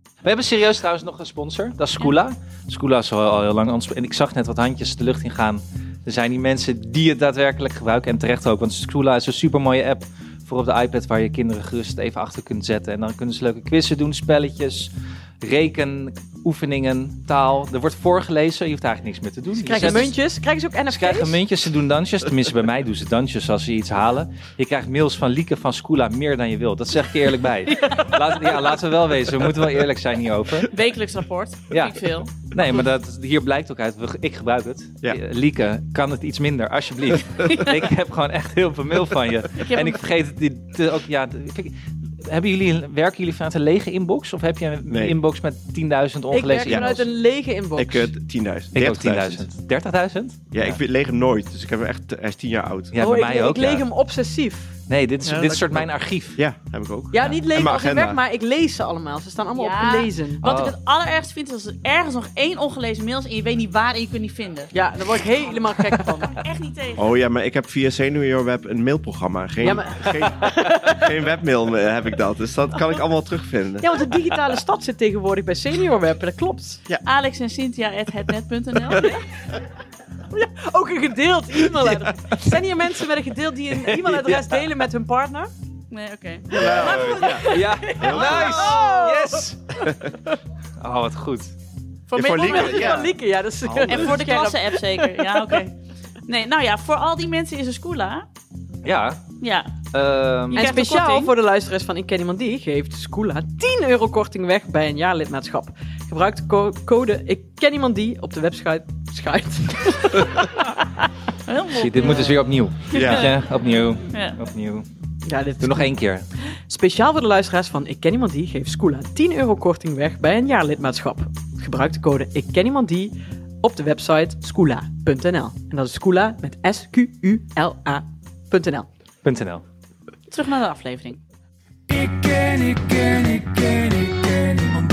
Speaker 4: We hebben serieus trouwens nog een sponsor. Dat is Skoola. Skoola is al, al heel lang ons. En ik zag net wat handjes de lucht in gaan. Er zijn die mensen die het daadwerkelijk gebruiken. En terecht ook. Want Skoola is een supermooie app voor op de iPad. Waar je kinderen gerust even achter kunt zetten. En dan kunnen ze leuke quizzen doen, spelletjes, reken, oefeningen, taal. Er wordt voorgelezen. Je hoeft eigenlijk niks meer te doen. Je
Speaker 5: Krijgen ze
Speaker 4: zet-
Speaker 5: muntjes? Krijgen ze ook NFT's?
Speaker 4: Ze krijgen muntjes, ze doen dansjes. Tenminste, bij mij doen ze dansjes als ze iets halen. Je krijgt mails van Lieke van Skoola meer dan je wilt. Dat zeg ik je eerlijk bij. Laat, ja, laten we wel wezen. We moeten wel eerlijk zijn hierover.
Speaker 3: Wekelijks rapport.
Speaker 4: Ja.
Speaker 3: Ja. Niet veel.
Speaker 4: Nee, maar dat, hier blijkt ook uit. We- Ik gebruik het.
Speaker 6: Ja.
Speaker 4: Eh, Lieke, kan het iets minder, alsjeblieft. Ik heb gewoon echt heel veel mail van je. En ik vergeet het die- te- ook. Ja, te- vind ik- hebben jullie, werken jullie vanuit een lege inbox? Of heb je een
Speaker 6: Nee.
Speaker 4: inbox met 10.000
Speaker 5: Ik
Speaker 4: ongelezen
Speaker 5: werk vanuit
Speaker 4: e-mails?
Speaker 5: een lege inbox.
Speaker 6: ik eh, 10.000.
Speaker 4: Ik ook
Speaker 6: 30.000.
Speaker 4: 10.000. 30.000?
Speaker 6: Ja, ik vind- leeg hem nooit. Dus ik heb hem echt, hij is 10 jaar oud.
Speaker 4: Ja,
Speaker 5: oh,
Speaker 4: bij
Speaker 5: ik,
Speaker 4: mij ook.
Speaker 5: ik leeg
Speaker 4: ja.
Speaker 5: hem obsessief.
Speaker 4: Nee, dit is,
Speaker 6: Ja,
Speaker 4: dit
Speaker 6: dat
Speaker 4: is soort
Speaker 6: kan
Speaker 4: mijn archief.
Speaker 6: Ja, heb ik ook.
Speaker 5: Ja, niet lezen
Speaker 6: mijn
Speaker 5: als ik
Speaker 6: agenda.
Speaker 5: werk, maar ik lees ze allemaal. Ze staan allemaal
Speaker 3: Ja.
Speaker 5: op lezen.
Speaker 3: Wat
Speaker 4: Oh.
Speaker 3: ik het allerergst vind is als er ergens nog één ongelezen mail is en je weet niet waar en je kunt het niet vinden.
Speaker 5: Ja, daar word ik helemaal gek van.
Speaker 3: Echt niet tegen.
Speaker 6: Oh ja, maar ik heb via Senior Web een mailprogramma. Geen,
Speaker 5: Ja, maar-
Speaker 6: geen, geen webmail eh, heb ik dat. Dus dat kan ik allemaal terugvinden.
Speaker 5: Ja, want de digitale stad zit tegenwoordig bij Senior Web. Dat klopt.
Speaker 3: Alex en Cynthia at hetnet.nl.
Speaker 5: Ook een gedeeld e-mailadres. Zijn hier mensen met een gedeeld die een e-mailadres delen met hun partner?
Speaker 3: Nee, oké.
Speaker 4: Ja,
Speaker 5: Oh.
Speaker 4: nice! Yes! Oh, wat goed.
Speaker 3: Voor,
Speaker 6: Ja, voor
Speaker 3: me-
Speaker 6: Lieke,
Speaker 5: Ja,
Speaker 6: ja.
Speaker 5: Lieke, ja, dat is
Speaker 6: Handig.
Speaker 3: En voor de eh, klasse-app zeker. Ja, oké. Nee, nou ja, voor al die mensen is een Skoola.
Speaker 4: Ja,
Speaker 3: Ja.
Speaker 4: ehm,
Speaker 5: En
Speaker 3: krijgt een
Speaker 5: speciaal
Speaker 3: korting.
Speaker 5: voor de luisteraars van Ik Ken Iemand Die geeft Skoola 10 euro korting weg bij een jaarlidmaatschap. Gebruik de co- code Ik Ken Iemand Die op de website. Schuit.
Speaker 3: Heel mooi.
Speaker 4: zie, dit moet dus weer opnieuw.
Speaker 6: Ja.
Speaker 4: Ja, opnieuw,
Speaker 3: Ja.
Speaker 4: opnieuw.
Speaker 5: Ja, dit
Speaker 4: Doe nog één keer.
Speaker 5: Speciaal voor de luisteraars van Ik Ken Iemand Die geeft Skoola 10 euro korting weg bij een jaarlidmaatschap. Gebruik de code Ik Ken Iemand Die op de website skoola.nl. En dat is Skoola met S-Q-U-L-A.nl.
Speaker 4: .nl.
Speaker 3: Terug naar de aflevering.
Speaker 7: Ik ken, ik ken, ik ken, ik ken niemand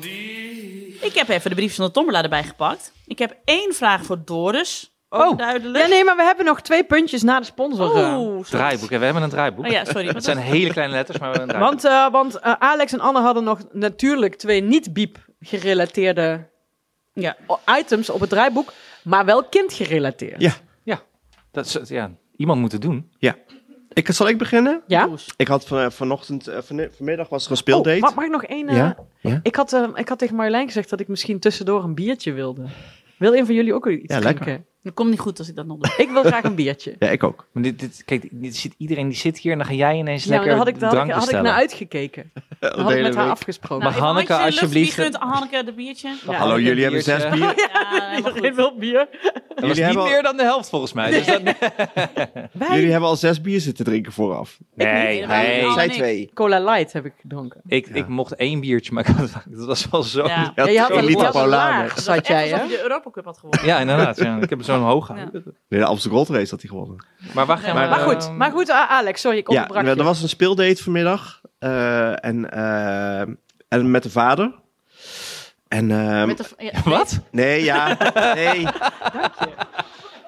Speaker 7: die.
Speaker 3: Ik heb even de brief van de tombola erbij gepakt. Ik heb één vraag voor Doris.
Speaker 4: Oh.
Speaker 3: duidelijk.
Speaker 5: Ja, nee, maar we hebben nog twee puntjes na de sponsor. eh.
Speaker 3: Oeh, sorry.
Speaker 4: Draaiboek, ja, we hebben een draaiboek.
Speaker 3: Oh ja, sorry.
Speaker 4: Het zijn hele kleine letters, maar we hebben een draaiboek.
Speaker 5: Want, eh, want eh, Alex en Anne hadden nog natuurlijk twee niet-biep gerelateerde
Speaker 3: Ja.
Speaker 5: items op het draaiboek, maar wel kindgerelateerd.
Speaker 6: Ja.
Speaker 4: Dat is, ja, iemand moet het doen.
Speaker 6: Ik, zal ik beginnen?
Speaker 5: Ja?
Speaker 6: Ik had van, eh, vanochtend, eh, van- vanmiddag was er een
Speaker 5: Oh,
Speaker 6: speeldate.
Speaker 5: mag, mag ik nog één? eh,
Speaker 6: Ja, ja.
Speaker 5: Ik, had, eh, ik had tegen Marjolein gezegd dat ik misschien tussendoor een biertje wilde. Wil een van jullie ook iets
Speaker 6: Ja, lekker.
Speaker 5: drinken?
Speaker 3: Dat komt niet goed als ik dat nog doe.
Speaker 5: Ik wil graag een biertje. Nou,
Speaker 6: ja, ik ook.
Speaker 4: Maar dit, dit, kijk, dit zit, iedereen die zit hier en dan ga jij ineens
Speaker 5: Ja, maar
Speaker 4: lekker
Speaker 5: daar had ik, daar had, ik,
Speaker 4: drank
Speaker 5: had ik
Speaker 4: bestellen.
Speaker 5: naar uitgekeken.
Speaker 6: Eh,
Speaker 5: Dan had ik met haar afgesproken.
Speaker 4: Maar
Speaker 3: even
Speaker 4: Hanneke,
Speaker 3: handjes in de lucht, Wie
Speaker 4: alsjeblieft.
Speaker 3: gunt Hanneke de biertje?
Speaker 5: Oh, Ja. eh,
Speaker 6: Hallo,
Speaker 4: Een
Speaker 6: jullie hebben
Speaker 4: biertje.
Speaker 6: zes bier.
Speaker 3: Ja, helemaal
Speaker 5: Iedereen
Speaker 3: goed.
Speaker 5: wil bier.
Speaker 4: Dat was
Speaker 6: Jullie
Speaker 4: niet
Speaker 6: hebben al-
Speaker 4: meer dan de helft volgens mij. Dus dat,
Speaker 5: Wij
Speaker 6: Jullie hebben al zes bier zitten drinken vooraf.
Speaker 4: nee,
Speaker 5: Oh,
Speaker 4: nee.
Speaker 3: Allemaal
Speaker 6: Zij
Speaker 3: niks.
Speaker 6: twee.
Speaker 5: cola light heb ik gedronken.
Speaker 4: Ik, ik mocht één biertje, maar ik had- dat was wel zo...
Speaker 3: Ja.
Speaker 6: Ja,
Speaker 5: je had
Speaker 6: twee
Speaker 5: een
Speaker 6: liter
Speaker 5: liter
Speaker 6: Paulaner.
Speaker 5: laag,
Speaker 3: Dat is
Speaker 5: zat
Speaker 3: echt
Speaker 5: jij,
Speaker 3: alsof
Speaker 5: hè?
Speaker 3: je de Europa Cup had gewonnen.
Speaker 4: Ja, inderdaad. Ja. Ik heb zo'n hoog gehouden.
Speaker 6: Nee, de Amsterdam Gold Race had hij gewonnen.
Speaker 4: Maar waar gaan
Speaker 3: Maar-
Speaker 4: we...
Speaker 5: Maar goed, maar goed, eh, Alex, sorry, ik
Speaker 6: Ja,
Speaker 5: onderbrak je.
Speaker 6: er was een speeldate vanmiddag. eh, en, eh, en met de vader. En, ehm,
Speaker 3: Met de- ja,
Speaker 4: Wat?
Speaker 6: Nee, ja. Nee.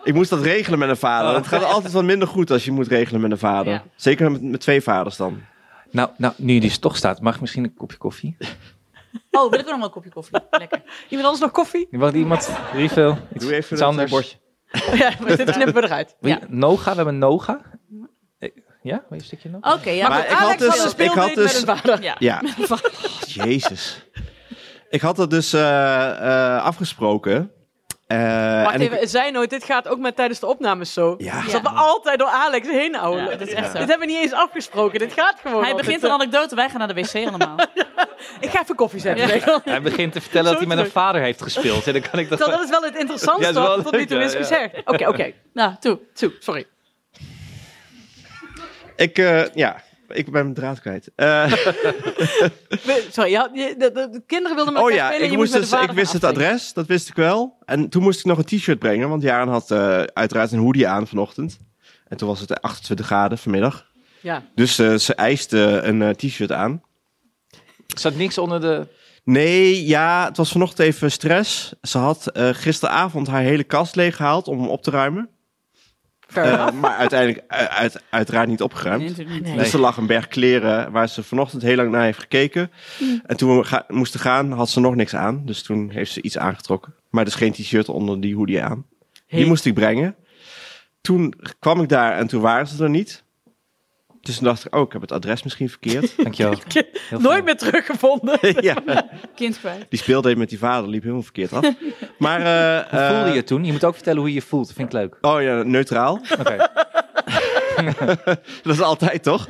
Speaker 6: Ik moest dat regelen met een
Speaker 5: Oh.
Speaker 6: vader. Het gaat altijd wat minder goed als je moet regelen met een vader.
Speaker 3: Ja.
Speaker 6: Zeker met, met twee vaders dan.
Speaker 4: Nou, nou, nu die toch staat, mag ik misschien een kopje koffie?
Speaker 3: Oh, wil ik ook nog wel een kopje koffie? Lekker.
Speaker 5: Iemand anders nog koffie?
Speaker 4: Wacht, iemand? Refill? Iets,
Speaker 6: Doe even
Speaker 4: iets
Speaker 6: dat,
Speaker 4: anders?
Speaker 6: eh, bordje.
Speaker 5: Ja, maar dit knippen we eruit.
Speaker 4: Wil je-
Speaker 3: Ja.
Speaker 4: Noga, we hebben Noga. Eh, Ja, wil je een stukje nog?
Speaker 3: Oké, ja.
Speaker 6: Maar
Speaker 3: goed.
Speaker 6: ik had
Speaker 5: Alex
Speaker 6: dus-
Speaker 5: een
Speaker 6: ik had
Speaker 5: speeldate
Speaker 6: dus-
Speaker 5: met een vader.
Speaker 3: ja.
Speaker 6: Ja. Jezus. Ik had het dus eh, eh, afgesproken. Eh,
Speaker 5: Wacht
Speaker 6: en ik-
Speaker 5: even, het zei nooit, dit gaat ook met tijdens de opnames zo.
Speaker 6: Ja.
Speaker 5: Dus dat we altijd door Alex heen
Speaker 3: Ja,
Speaker 5: houden.
Speaker 3: dat is echt zo.
Speaker 5: Dit hebben we niet eens afgesproken, dit gaat gewoon.
Speaker 3: Hij
Speaker 5: al.
Speaker 3: begint een anekdote, wij gaan naar de wc allemaal.
Speaker 5: Ik ga even koffie zetten.
Speaker 3: Ja.
Speaker 5: weet je wel.
Speaker 4: Hij begint te vertellen dat hij met een
Speaker 5: druk.
Speaker 4: vader heeft gespeeld. En dan kan ik dat...
Speaker 5: Terwijl dat is wel het interessantste
Speaker 4: Ja, dat is wel
Speaker 5: wat tot nu toe
Speaker 4: leuk,
Speaker 5: is
Speaker 4: ja, ja.
Speaker 5: gezegd. Oké, oké.
Speaker 3: Nou, toe.
Speaker 5: Toe, sorry.
Speaker 6: Ik, eh, ja. Ik ben mijn draad kwijt. Eh,
Speaker 5: We- Sorry, ja, je- de, de- de kinderen wilden met
Speaker 6: oh
Speaker 5: elkaar
Speaker 6: ja,
Speaker 5: spelen.
Speaker 6: ik,
Speaker 5: je
Speaker 6: moest
Speaker 5: moest met
Speaker 6: dus,
Speaker 5: de
Speaker 6: ik
Speaker 5: vader
Speaker 6: wist
Speaker 5: gaan
Speaker 6: het adres, dat wist ik wel. En toen moest ik nog een t-shirt brengen, want Jaren had eh, uiteraard een hoodie aan vanochtend. En toen was het 28 graden vanmiddag.
Speaker 5: afspreken.
Speaker 6: Dus eh, ze eiste een eh, t-shirt aan.
Speaker 4: zat niks onder de...
Speaker 6: Nee, ja, het was vanochtend even stress. Ze had eh, gisteravond haar hele kast leeggehaald om hem op te ruimen.
Speaker 5: Ja, fair
Speaker 6: Eh,
Speaker 5: enough.
Speaker 6: maar uiteindelijk eh, uit, uiteraard niet opgeruimd. Dus er lag een berg kleren waar ze vanochtend heel lang naar heeft gekeken.
Speaker 5: Mm.
Speaker 6: En toen we ga- moesten gaan, had ze nog niks aan. Dus toen heeft ze iets aangetrokken. Maar dus geen t-shirt onder die hoodie aan.
Speaker 5: Hey.
Speaker 6: Die moest ik brengen. Toen kwam ik daar en toen waren ze er niet. Dus toen dacht ik, oh, ik heb het adres misschien verkeerd.
Speaker 4: Dankjewel. Heel
Speaker 5: Nooit meer teruggevonden.
Speaker 6: ja,
Speaker 3: Kind kwijt.
Speaker 6: die speelde even met die vader, liep helemaal verkeerd af. Maar, eh,
Speaker 4: Hoe voelde
Speaker 6: eh,
Speaker 4: je toen? Je moet ook vertellen hoe je je voelt. Vind ik leuk.
Speaker 6: Oh ja, neutraal.
Speaker 4: Oké.
Speaker 6: Dat is altijd toch?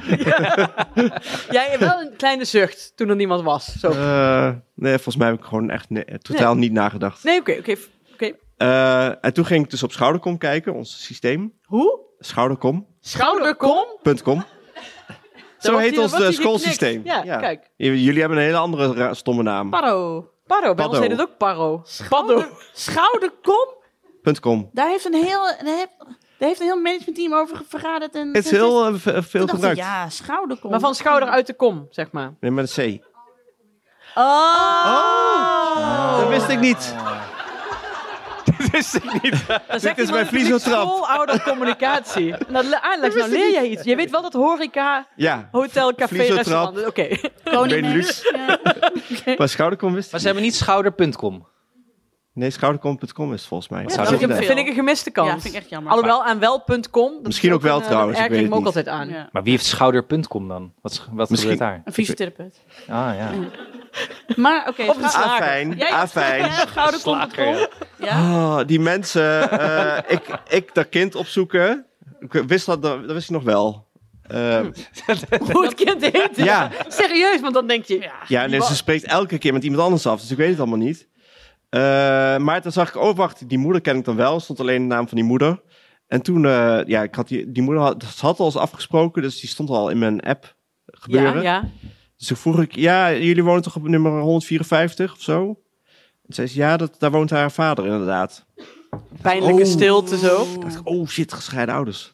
Speaker 5: Jij hebt wel een kleine zucht toen er niemand was. Zo.
Speaker 6: Eh, nee, volgens mij heb ik gewoon echt ne- totaal niet nagedacht.
Speaker 5: Nee, oké, oké. f- oké.
Speaker 6: Eh, en toen ging ik dus op Schoudercom kijken, ons systeem.
Speaker 5: Hoe?
Speaker 6: Schoudercom.com.
Speaker 5: Schouderkom?
Speaker 6: Zo
Speaker 5: wordt
Speaker 6: heet
Speaker 5: hier-
Speaker 6: ons
Speaker 5: wordt
Speaker 6: eh,
Speaker 5: hier
Speaker 6: schoolsysteem.
Speaker 5: geknikt. Ja, kijk.
Speaker 6: J- Jullie hebben een hele andere ra- stomme naam.
Speaker 3: Paro.
Speaker 5: Parro, bij ons
Speaker 6: Paddo.
Speaker 5: heet het ook parro. Paddo.
Speaker 3: Schouderkom?
Speaker 6: .com.
Speaker 3: Daar heeft een heel, daar heeft, daar heeft een heel managementteam over ge- vergaderd. En
Speaker 6: Het is heel eh, ve- veel
Speaker 3: Toen dacht ik,
Speaker 6: gebruikt.
Speaker 3: Ja, schouderkom.
Speaker 5: Maar van schouder uit de kom, zeg maar.
Speaker 6: Nee, met een C.
Speaker 5: Oh!
Speaker 6: Dat wist ik niet.
Speaker 5: Dan zegt
Speaker 6: is
Speaker 5: iemand
Speaker 6: bij
Speaker 5: natuurlijk
Speaker 6: Vliezotrap.
Speaker 5: schooloudercommunicatie. En dan aanleg, nou leer jij iets. Je weet wel dat horeca,
Speaker 6: Ja,
Speaker 5: hotel, café,
Speaker 6: Vliezotrap.
Speaker 5: restaurant... Oké.
Speaker 6: Benelux. Maar Schoudercom wist
Speaker 4: Maar
Speaker 6: ik
Speaker 4: ze hebben niet schouder.com.
Speaker 6: niet. Nee, Schoudercom.com is het volgens mij.
Speaker 4: Wat
Speaker 6: Ja,
Speaker 4: zou
Speaker 5: Dat vind ik,
Speaker 4: dat betekenen?
Speaker 5: vind ik een gemiste kans.
Speaker 3: Ja, vind ik echt jammer.
Speaker 5: Alhoewel aan wel.com. dat
Speaker 6: Misschien
Speaker 5: is
Speaker 6: ook wel
Speaker 5: een,
Speaker 6: trouwens,
Speaker 5: eh,
Speaker 6: ik weet
Speaker 5: erger
Speaker 6: het
Speaker 5: hem ook altijd aan.
Speaker 3: Ja.
Speaker 4: Maar wie heeft schouder.com dan? Wat, sch- wat
Speaker 6: Misschien-
Speaker 4: gebeurt daar?
Speaker 3: Een fysiotherapeut.
Speaker 4: Ah ja.
Speaker 3: Maar oké.
Speaker 5: Op de
Speaker 3: schou-
Speaker 5: slager.
Speaker 6: Afijn,
Speaker 3: Jij-
Speaker 6: afijn.
Speaker 3: Ja, schouderkom.
Speaker 4: Slager, ja.
Speaker 3: Ja.
Speaker 6: Ah, die mensen, eh, ik, ik dat kind opzoeken, ik wist dat, dat wist ik nog wel. Eh,
Speaker 5: Hoe het kind heet.
Speaker 6: ja,
Speaker 5: Serieus, want dan denk je...
Speaker 6: ja nee, ze spreekt elke keer met iemand anders af, dus ik weet het allemaal niet. Eh, maar toen zag ik, oh wacht, die moeder ken ik dan wel, er stond alleen de naam van die moeder. En toen, eh, ja, ik had die, die moeder had, ze had al eens afgesproken, dus die stond al in mijn app gebeuren.
Speaker 5: Ja, ja.
Speaker 6: Dus toen vroeg ik, ja, jullie wonen toch op nummer 154 of zo? En zei ze, ja, dat, daar woont haar vader inderdaad.
Speaker 5: Pijnlijke
Speaker 6: Oh.
Speaker 5: stilte zo.
Speaker 6: Ik dacht, oh shit, gescheiden ouders.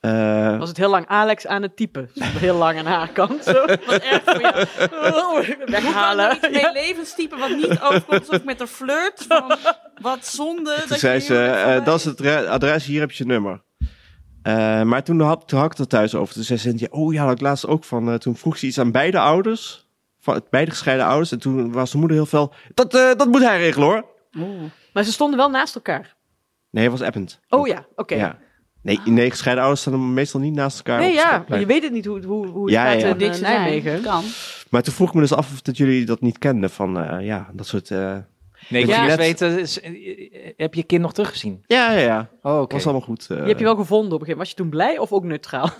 Speaker 6: Eh,
Speaker 5: Was het heel lang Alex aan het typen. Stond Heel lang aan haar kant zo.
Speaker 3: Wat erg voor jou. Moet dan
Speaker 5: Weghalen.
Speaker 3: nog iets mee levenstype wat niet overkomt. Of met een flirt. Van, wat zonde.
Speaker 6: toen zei ze, eh, dat is het re- adres, hier heb je je nummer. Eh, maar toen had, toen had ik het thuis over. Toen zei ze, ja, oh ja, had ik laatst ook van. eh, toen vroeg ze iets aan beide ouders. Van, beide gescheiden ouders. En toen was de moeder heel fel. Dat, eh, dat moet hij regelen hoor.
Speaker 5: Maar ze stonden wel naast elkaar.
Speaker 6: Nee, het was append.
Speaker 5: Oh ja, oké.
Speaker 6: Ja. Nee, nee, gescheiden ouders staan meestal niet naast elkaar.
Speaker 5: Nee,
Speaker 6: op de
Speaker 5: ja.
Speaker 6: schoolplein.
Speaker 5: Je weet het niet hoe, hoe, hoe het
Speaker 6: Ja,
Speaker 5: gaat
Speaker 6: ja.
Speaker 5: in eh, Nijmegen.
Speaker 3: Kan.
Speaker 6: Maar toen vroeg ik me dus af of dat jullie dat niet kenden. Van eh, ja, dat soort. eh,
Speaker 4: Nee, ik
Speaker 5: Ja.
Speaker 4: wil eerst weten, is- eh, heb je kind nog teruggezien?
Speaker 6: Ja, ja, ja.
Speaker 4: Oh, oké.
Speaker 6: Was allemaal goed. eh.
Speaker 5: Die heb je wel gevonden op een gegeven moment. Was je toen blij of ook neutraal?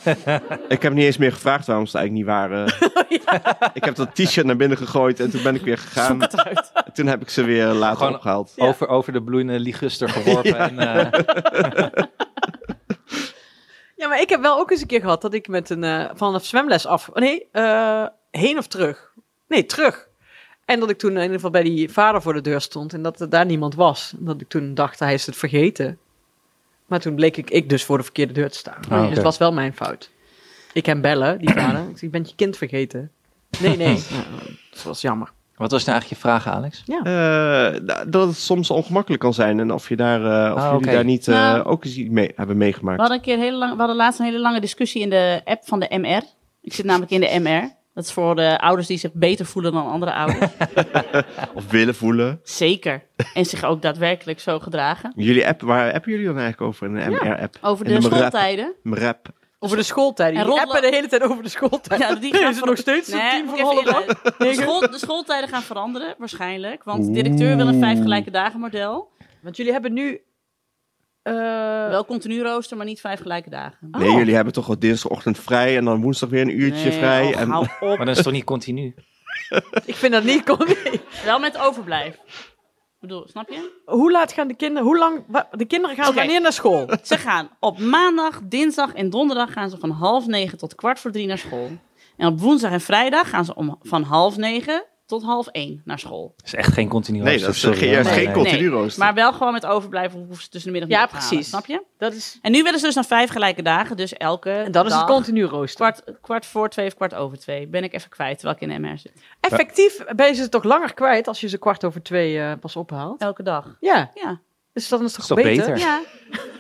Speaker 6: Ik heb niet eens meer gevraagd waarom ze het eigenlijk niet waren.
Speaker 3: Oh,
Speaker 6: Ik heb dat t-shirt naar binnen gegooid en toen ben ik weer gegaan. En toen heb ik ze weer later
Speaker 4: Gewoon-
Speaker 6: opgehaald.
Speaker 4: Over, over de bloeiende liguster geworpen. En, eh,
Speaker 5: Ja, maar ik heb wel ook eens een keer gehad dat ik met een eh, vanaf zwemles af. oh Nee, eh, heen of terug? Nee, terug. En dat ik toen in ieder geval bij die vader voor de deur stond en dat er daar niemand was. En dat ik toen dacht, hij is het vergeten. Maar toen bleek ik, ik dus voor de verkeerde deur te staan.
Speaker 4: Ah, oké.
Speaker 5: Dus het was wel mijn fout. Ik hem bellen, die vader. Ik zeg, je bent je kind vergeten. Nee, nee. Ja, dat was jammer.
Speaker 4: wat was nou eigenlijk je vraag, Alex?
Speaker 6: Eh, da- dat het soms ongemakkelijk kan zijn en of, je daar, eh, of
Speaker 4: Ah,
Speaker 6: jullie
Speaker 4: oké.
Speaker 6: daar niet eh,
Speaker 3: Nou.
Speaker 6: ook eens iets mee hebben meegemaakt.
Speaker 3: We hadden, een keer een hele lang, we hadden laatst een hele lange discussie in de app van de MR. Ik zit namelijk in de MR. Dat is voor de ouders die zich beter voelen dan andere ouders.
Speaker 6: Of willen voelen.
Speaker 3: Zeker. En zich ook daadwerkelijk zo gedragen.
Speaker 6: Jullie app, waar appen jullie dan eigenlijk over? Een MR-app?
Speaker 3: Over
Speaker 6: En
Speaker 3: de
Speaker 6: de rap.
Speaker 3: schooltijden.
Speaker 6: Rap.
Speaker 5: Over de schooltijd.
Speaker 3: En
Speaker 5: Die
Speaker 3: roddelen-
Speaker 5: appen de hele tijd over de schooltijd.
Speaker 3: Ja, die gaan
Speaker 5: is er
Speaker 3: van-
Speaker 5: nog steeds een
Speaker 3: Nee,
Speaker 5: team
Speaker 3: moet
Speaker 5: van
Speaker 3: ik even
Speaker 5: Holland.
Speaker 3: inleiden. de, school- de schooltijden gaan veranderen, waarschijnlijk. Want de directeur wil een vijf gelijke dagen model.
Speaker 5: Want jullie hebben nu... eh,
Speaker 3: Wel continu rooster, maar niet vijf gelijke dagen.
Speaker 6: Nee, jullie hebben toch wel dinsdagochtend vrij en dan woensdag weer een uurtje
Speaker 3: Oh. Nee,
Speaker 6: vrij.
Speaker 3: oh,
Speaker 6: en
Speaker 3: hou op.
Speaker 4: Maar dat is toch niet continu?
Speaker 5: Ik vind dat niet... Kon,
Speaker 3: Wel met overblijf. Ik bedoel, snap je?
Speaker 5: Hoe laat gaan de kinderen, hoe lang, wa- de kinderen gaan
Speaker 3: Oké.
Speaker 5: wanneer naar school?
Speaker 3: Ze gaan op maandag, dinsdag en donderdag gaan ze van half negen tot kwart voor drie naar school. En op woensdag en vrijdag gaan ze om, van half negen tot half één naar school.
Speaker 4: is echt geen continu
Speaker 6: Nee,
Speaker 4: rooster,
Speaker 6: dat is
Speaker 4: Oh, sorry,
Speaker 6: geen-
Speaker 4: hoor.
Speaker 6: juist
Speaker 4: Nee,
Speaker 6: geen
Speaker 4: nee.
Speaker 6: continu rooster.
Speaker 3: Maar wel gewoon met overblijven hoeven ze tussen de middag
Speaker 5: Ja,
Speaker 3: niet op te halen,
Speaker 5: precies.
Speaker 3: snap je?
Speaker 5: Dat is,
Speaker 3: En nu willen ze dus naar vijf gelijke dagen. Dus elke
Speaker 5: en dat is het
Speaker 3: dag
Speaker 5: continu rooster.
Speaker 3: Kwart, kwart voor twee of kwart over twee. Ben ik even kwijt, terwijl ik in de MR zit.
Speaker 5: Effectief ben je ze toch langer kwijt als je ze kwart over twee eh, pas ophaalt?
Speaker 3: Elke dag.
Speaker 5: Ja,
Speaker 3: Ja.
Speaker 5: dus dan is het
Speaker 4: Is
Speaker 5: toch
Speaker 4: toch
Speaker 5: beter?
Speaker 4: beter?
Speaker 3: Ja.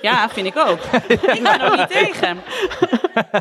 Speaker 3: Ja, vind ik ook. Ik ben er niet tegen.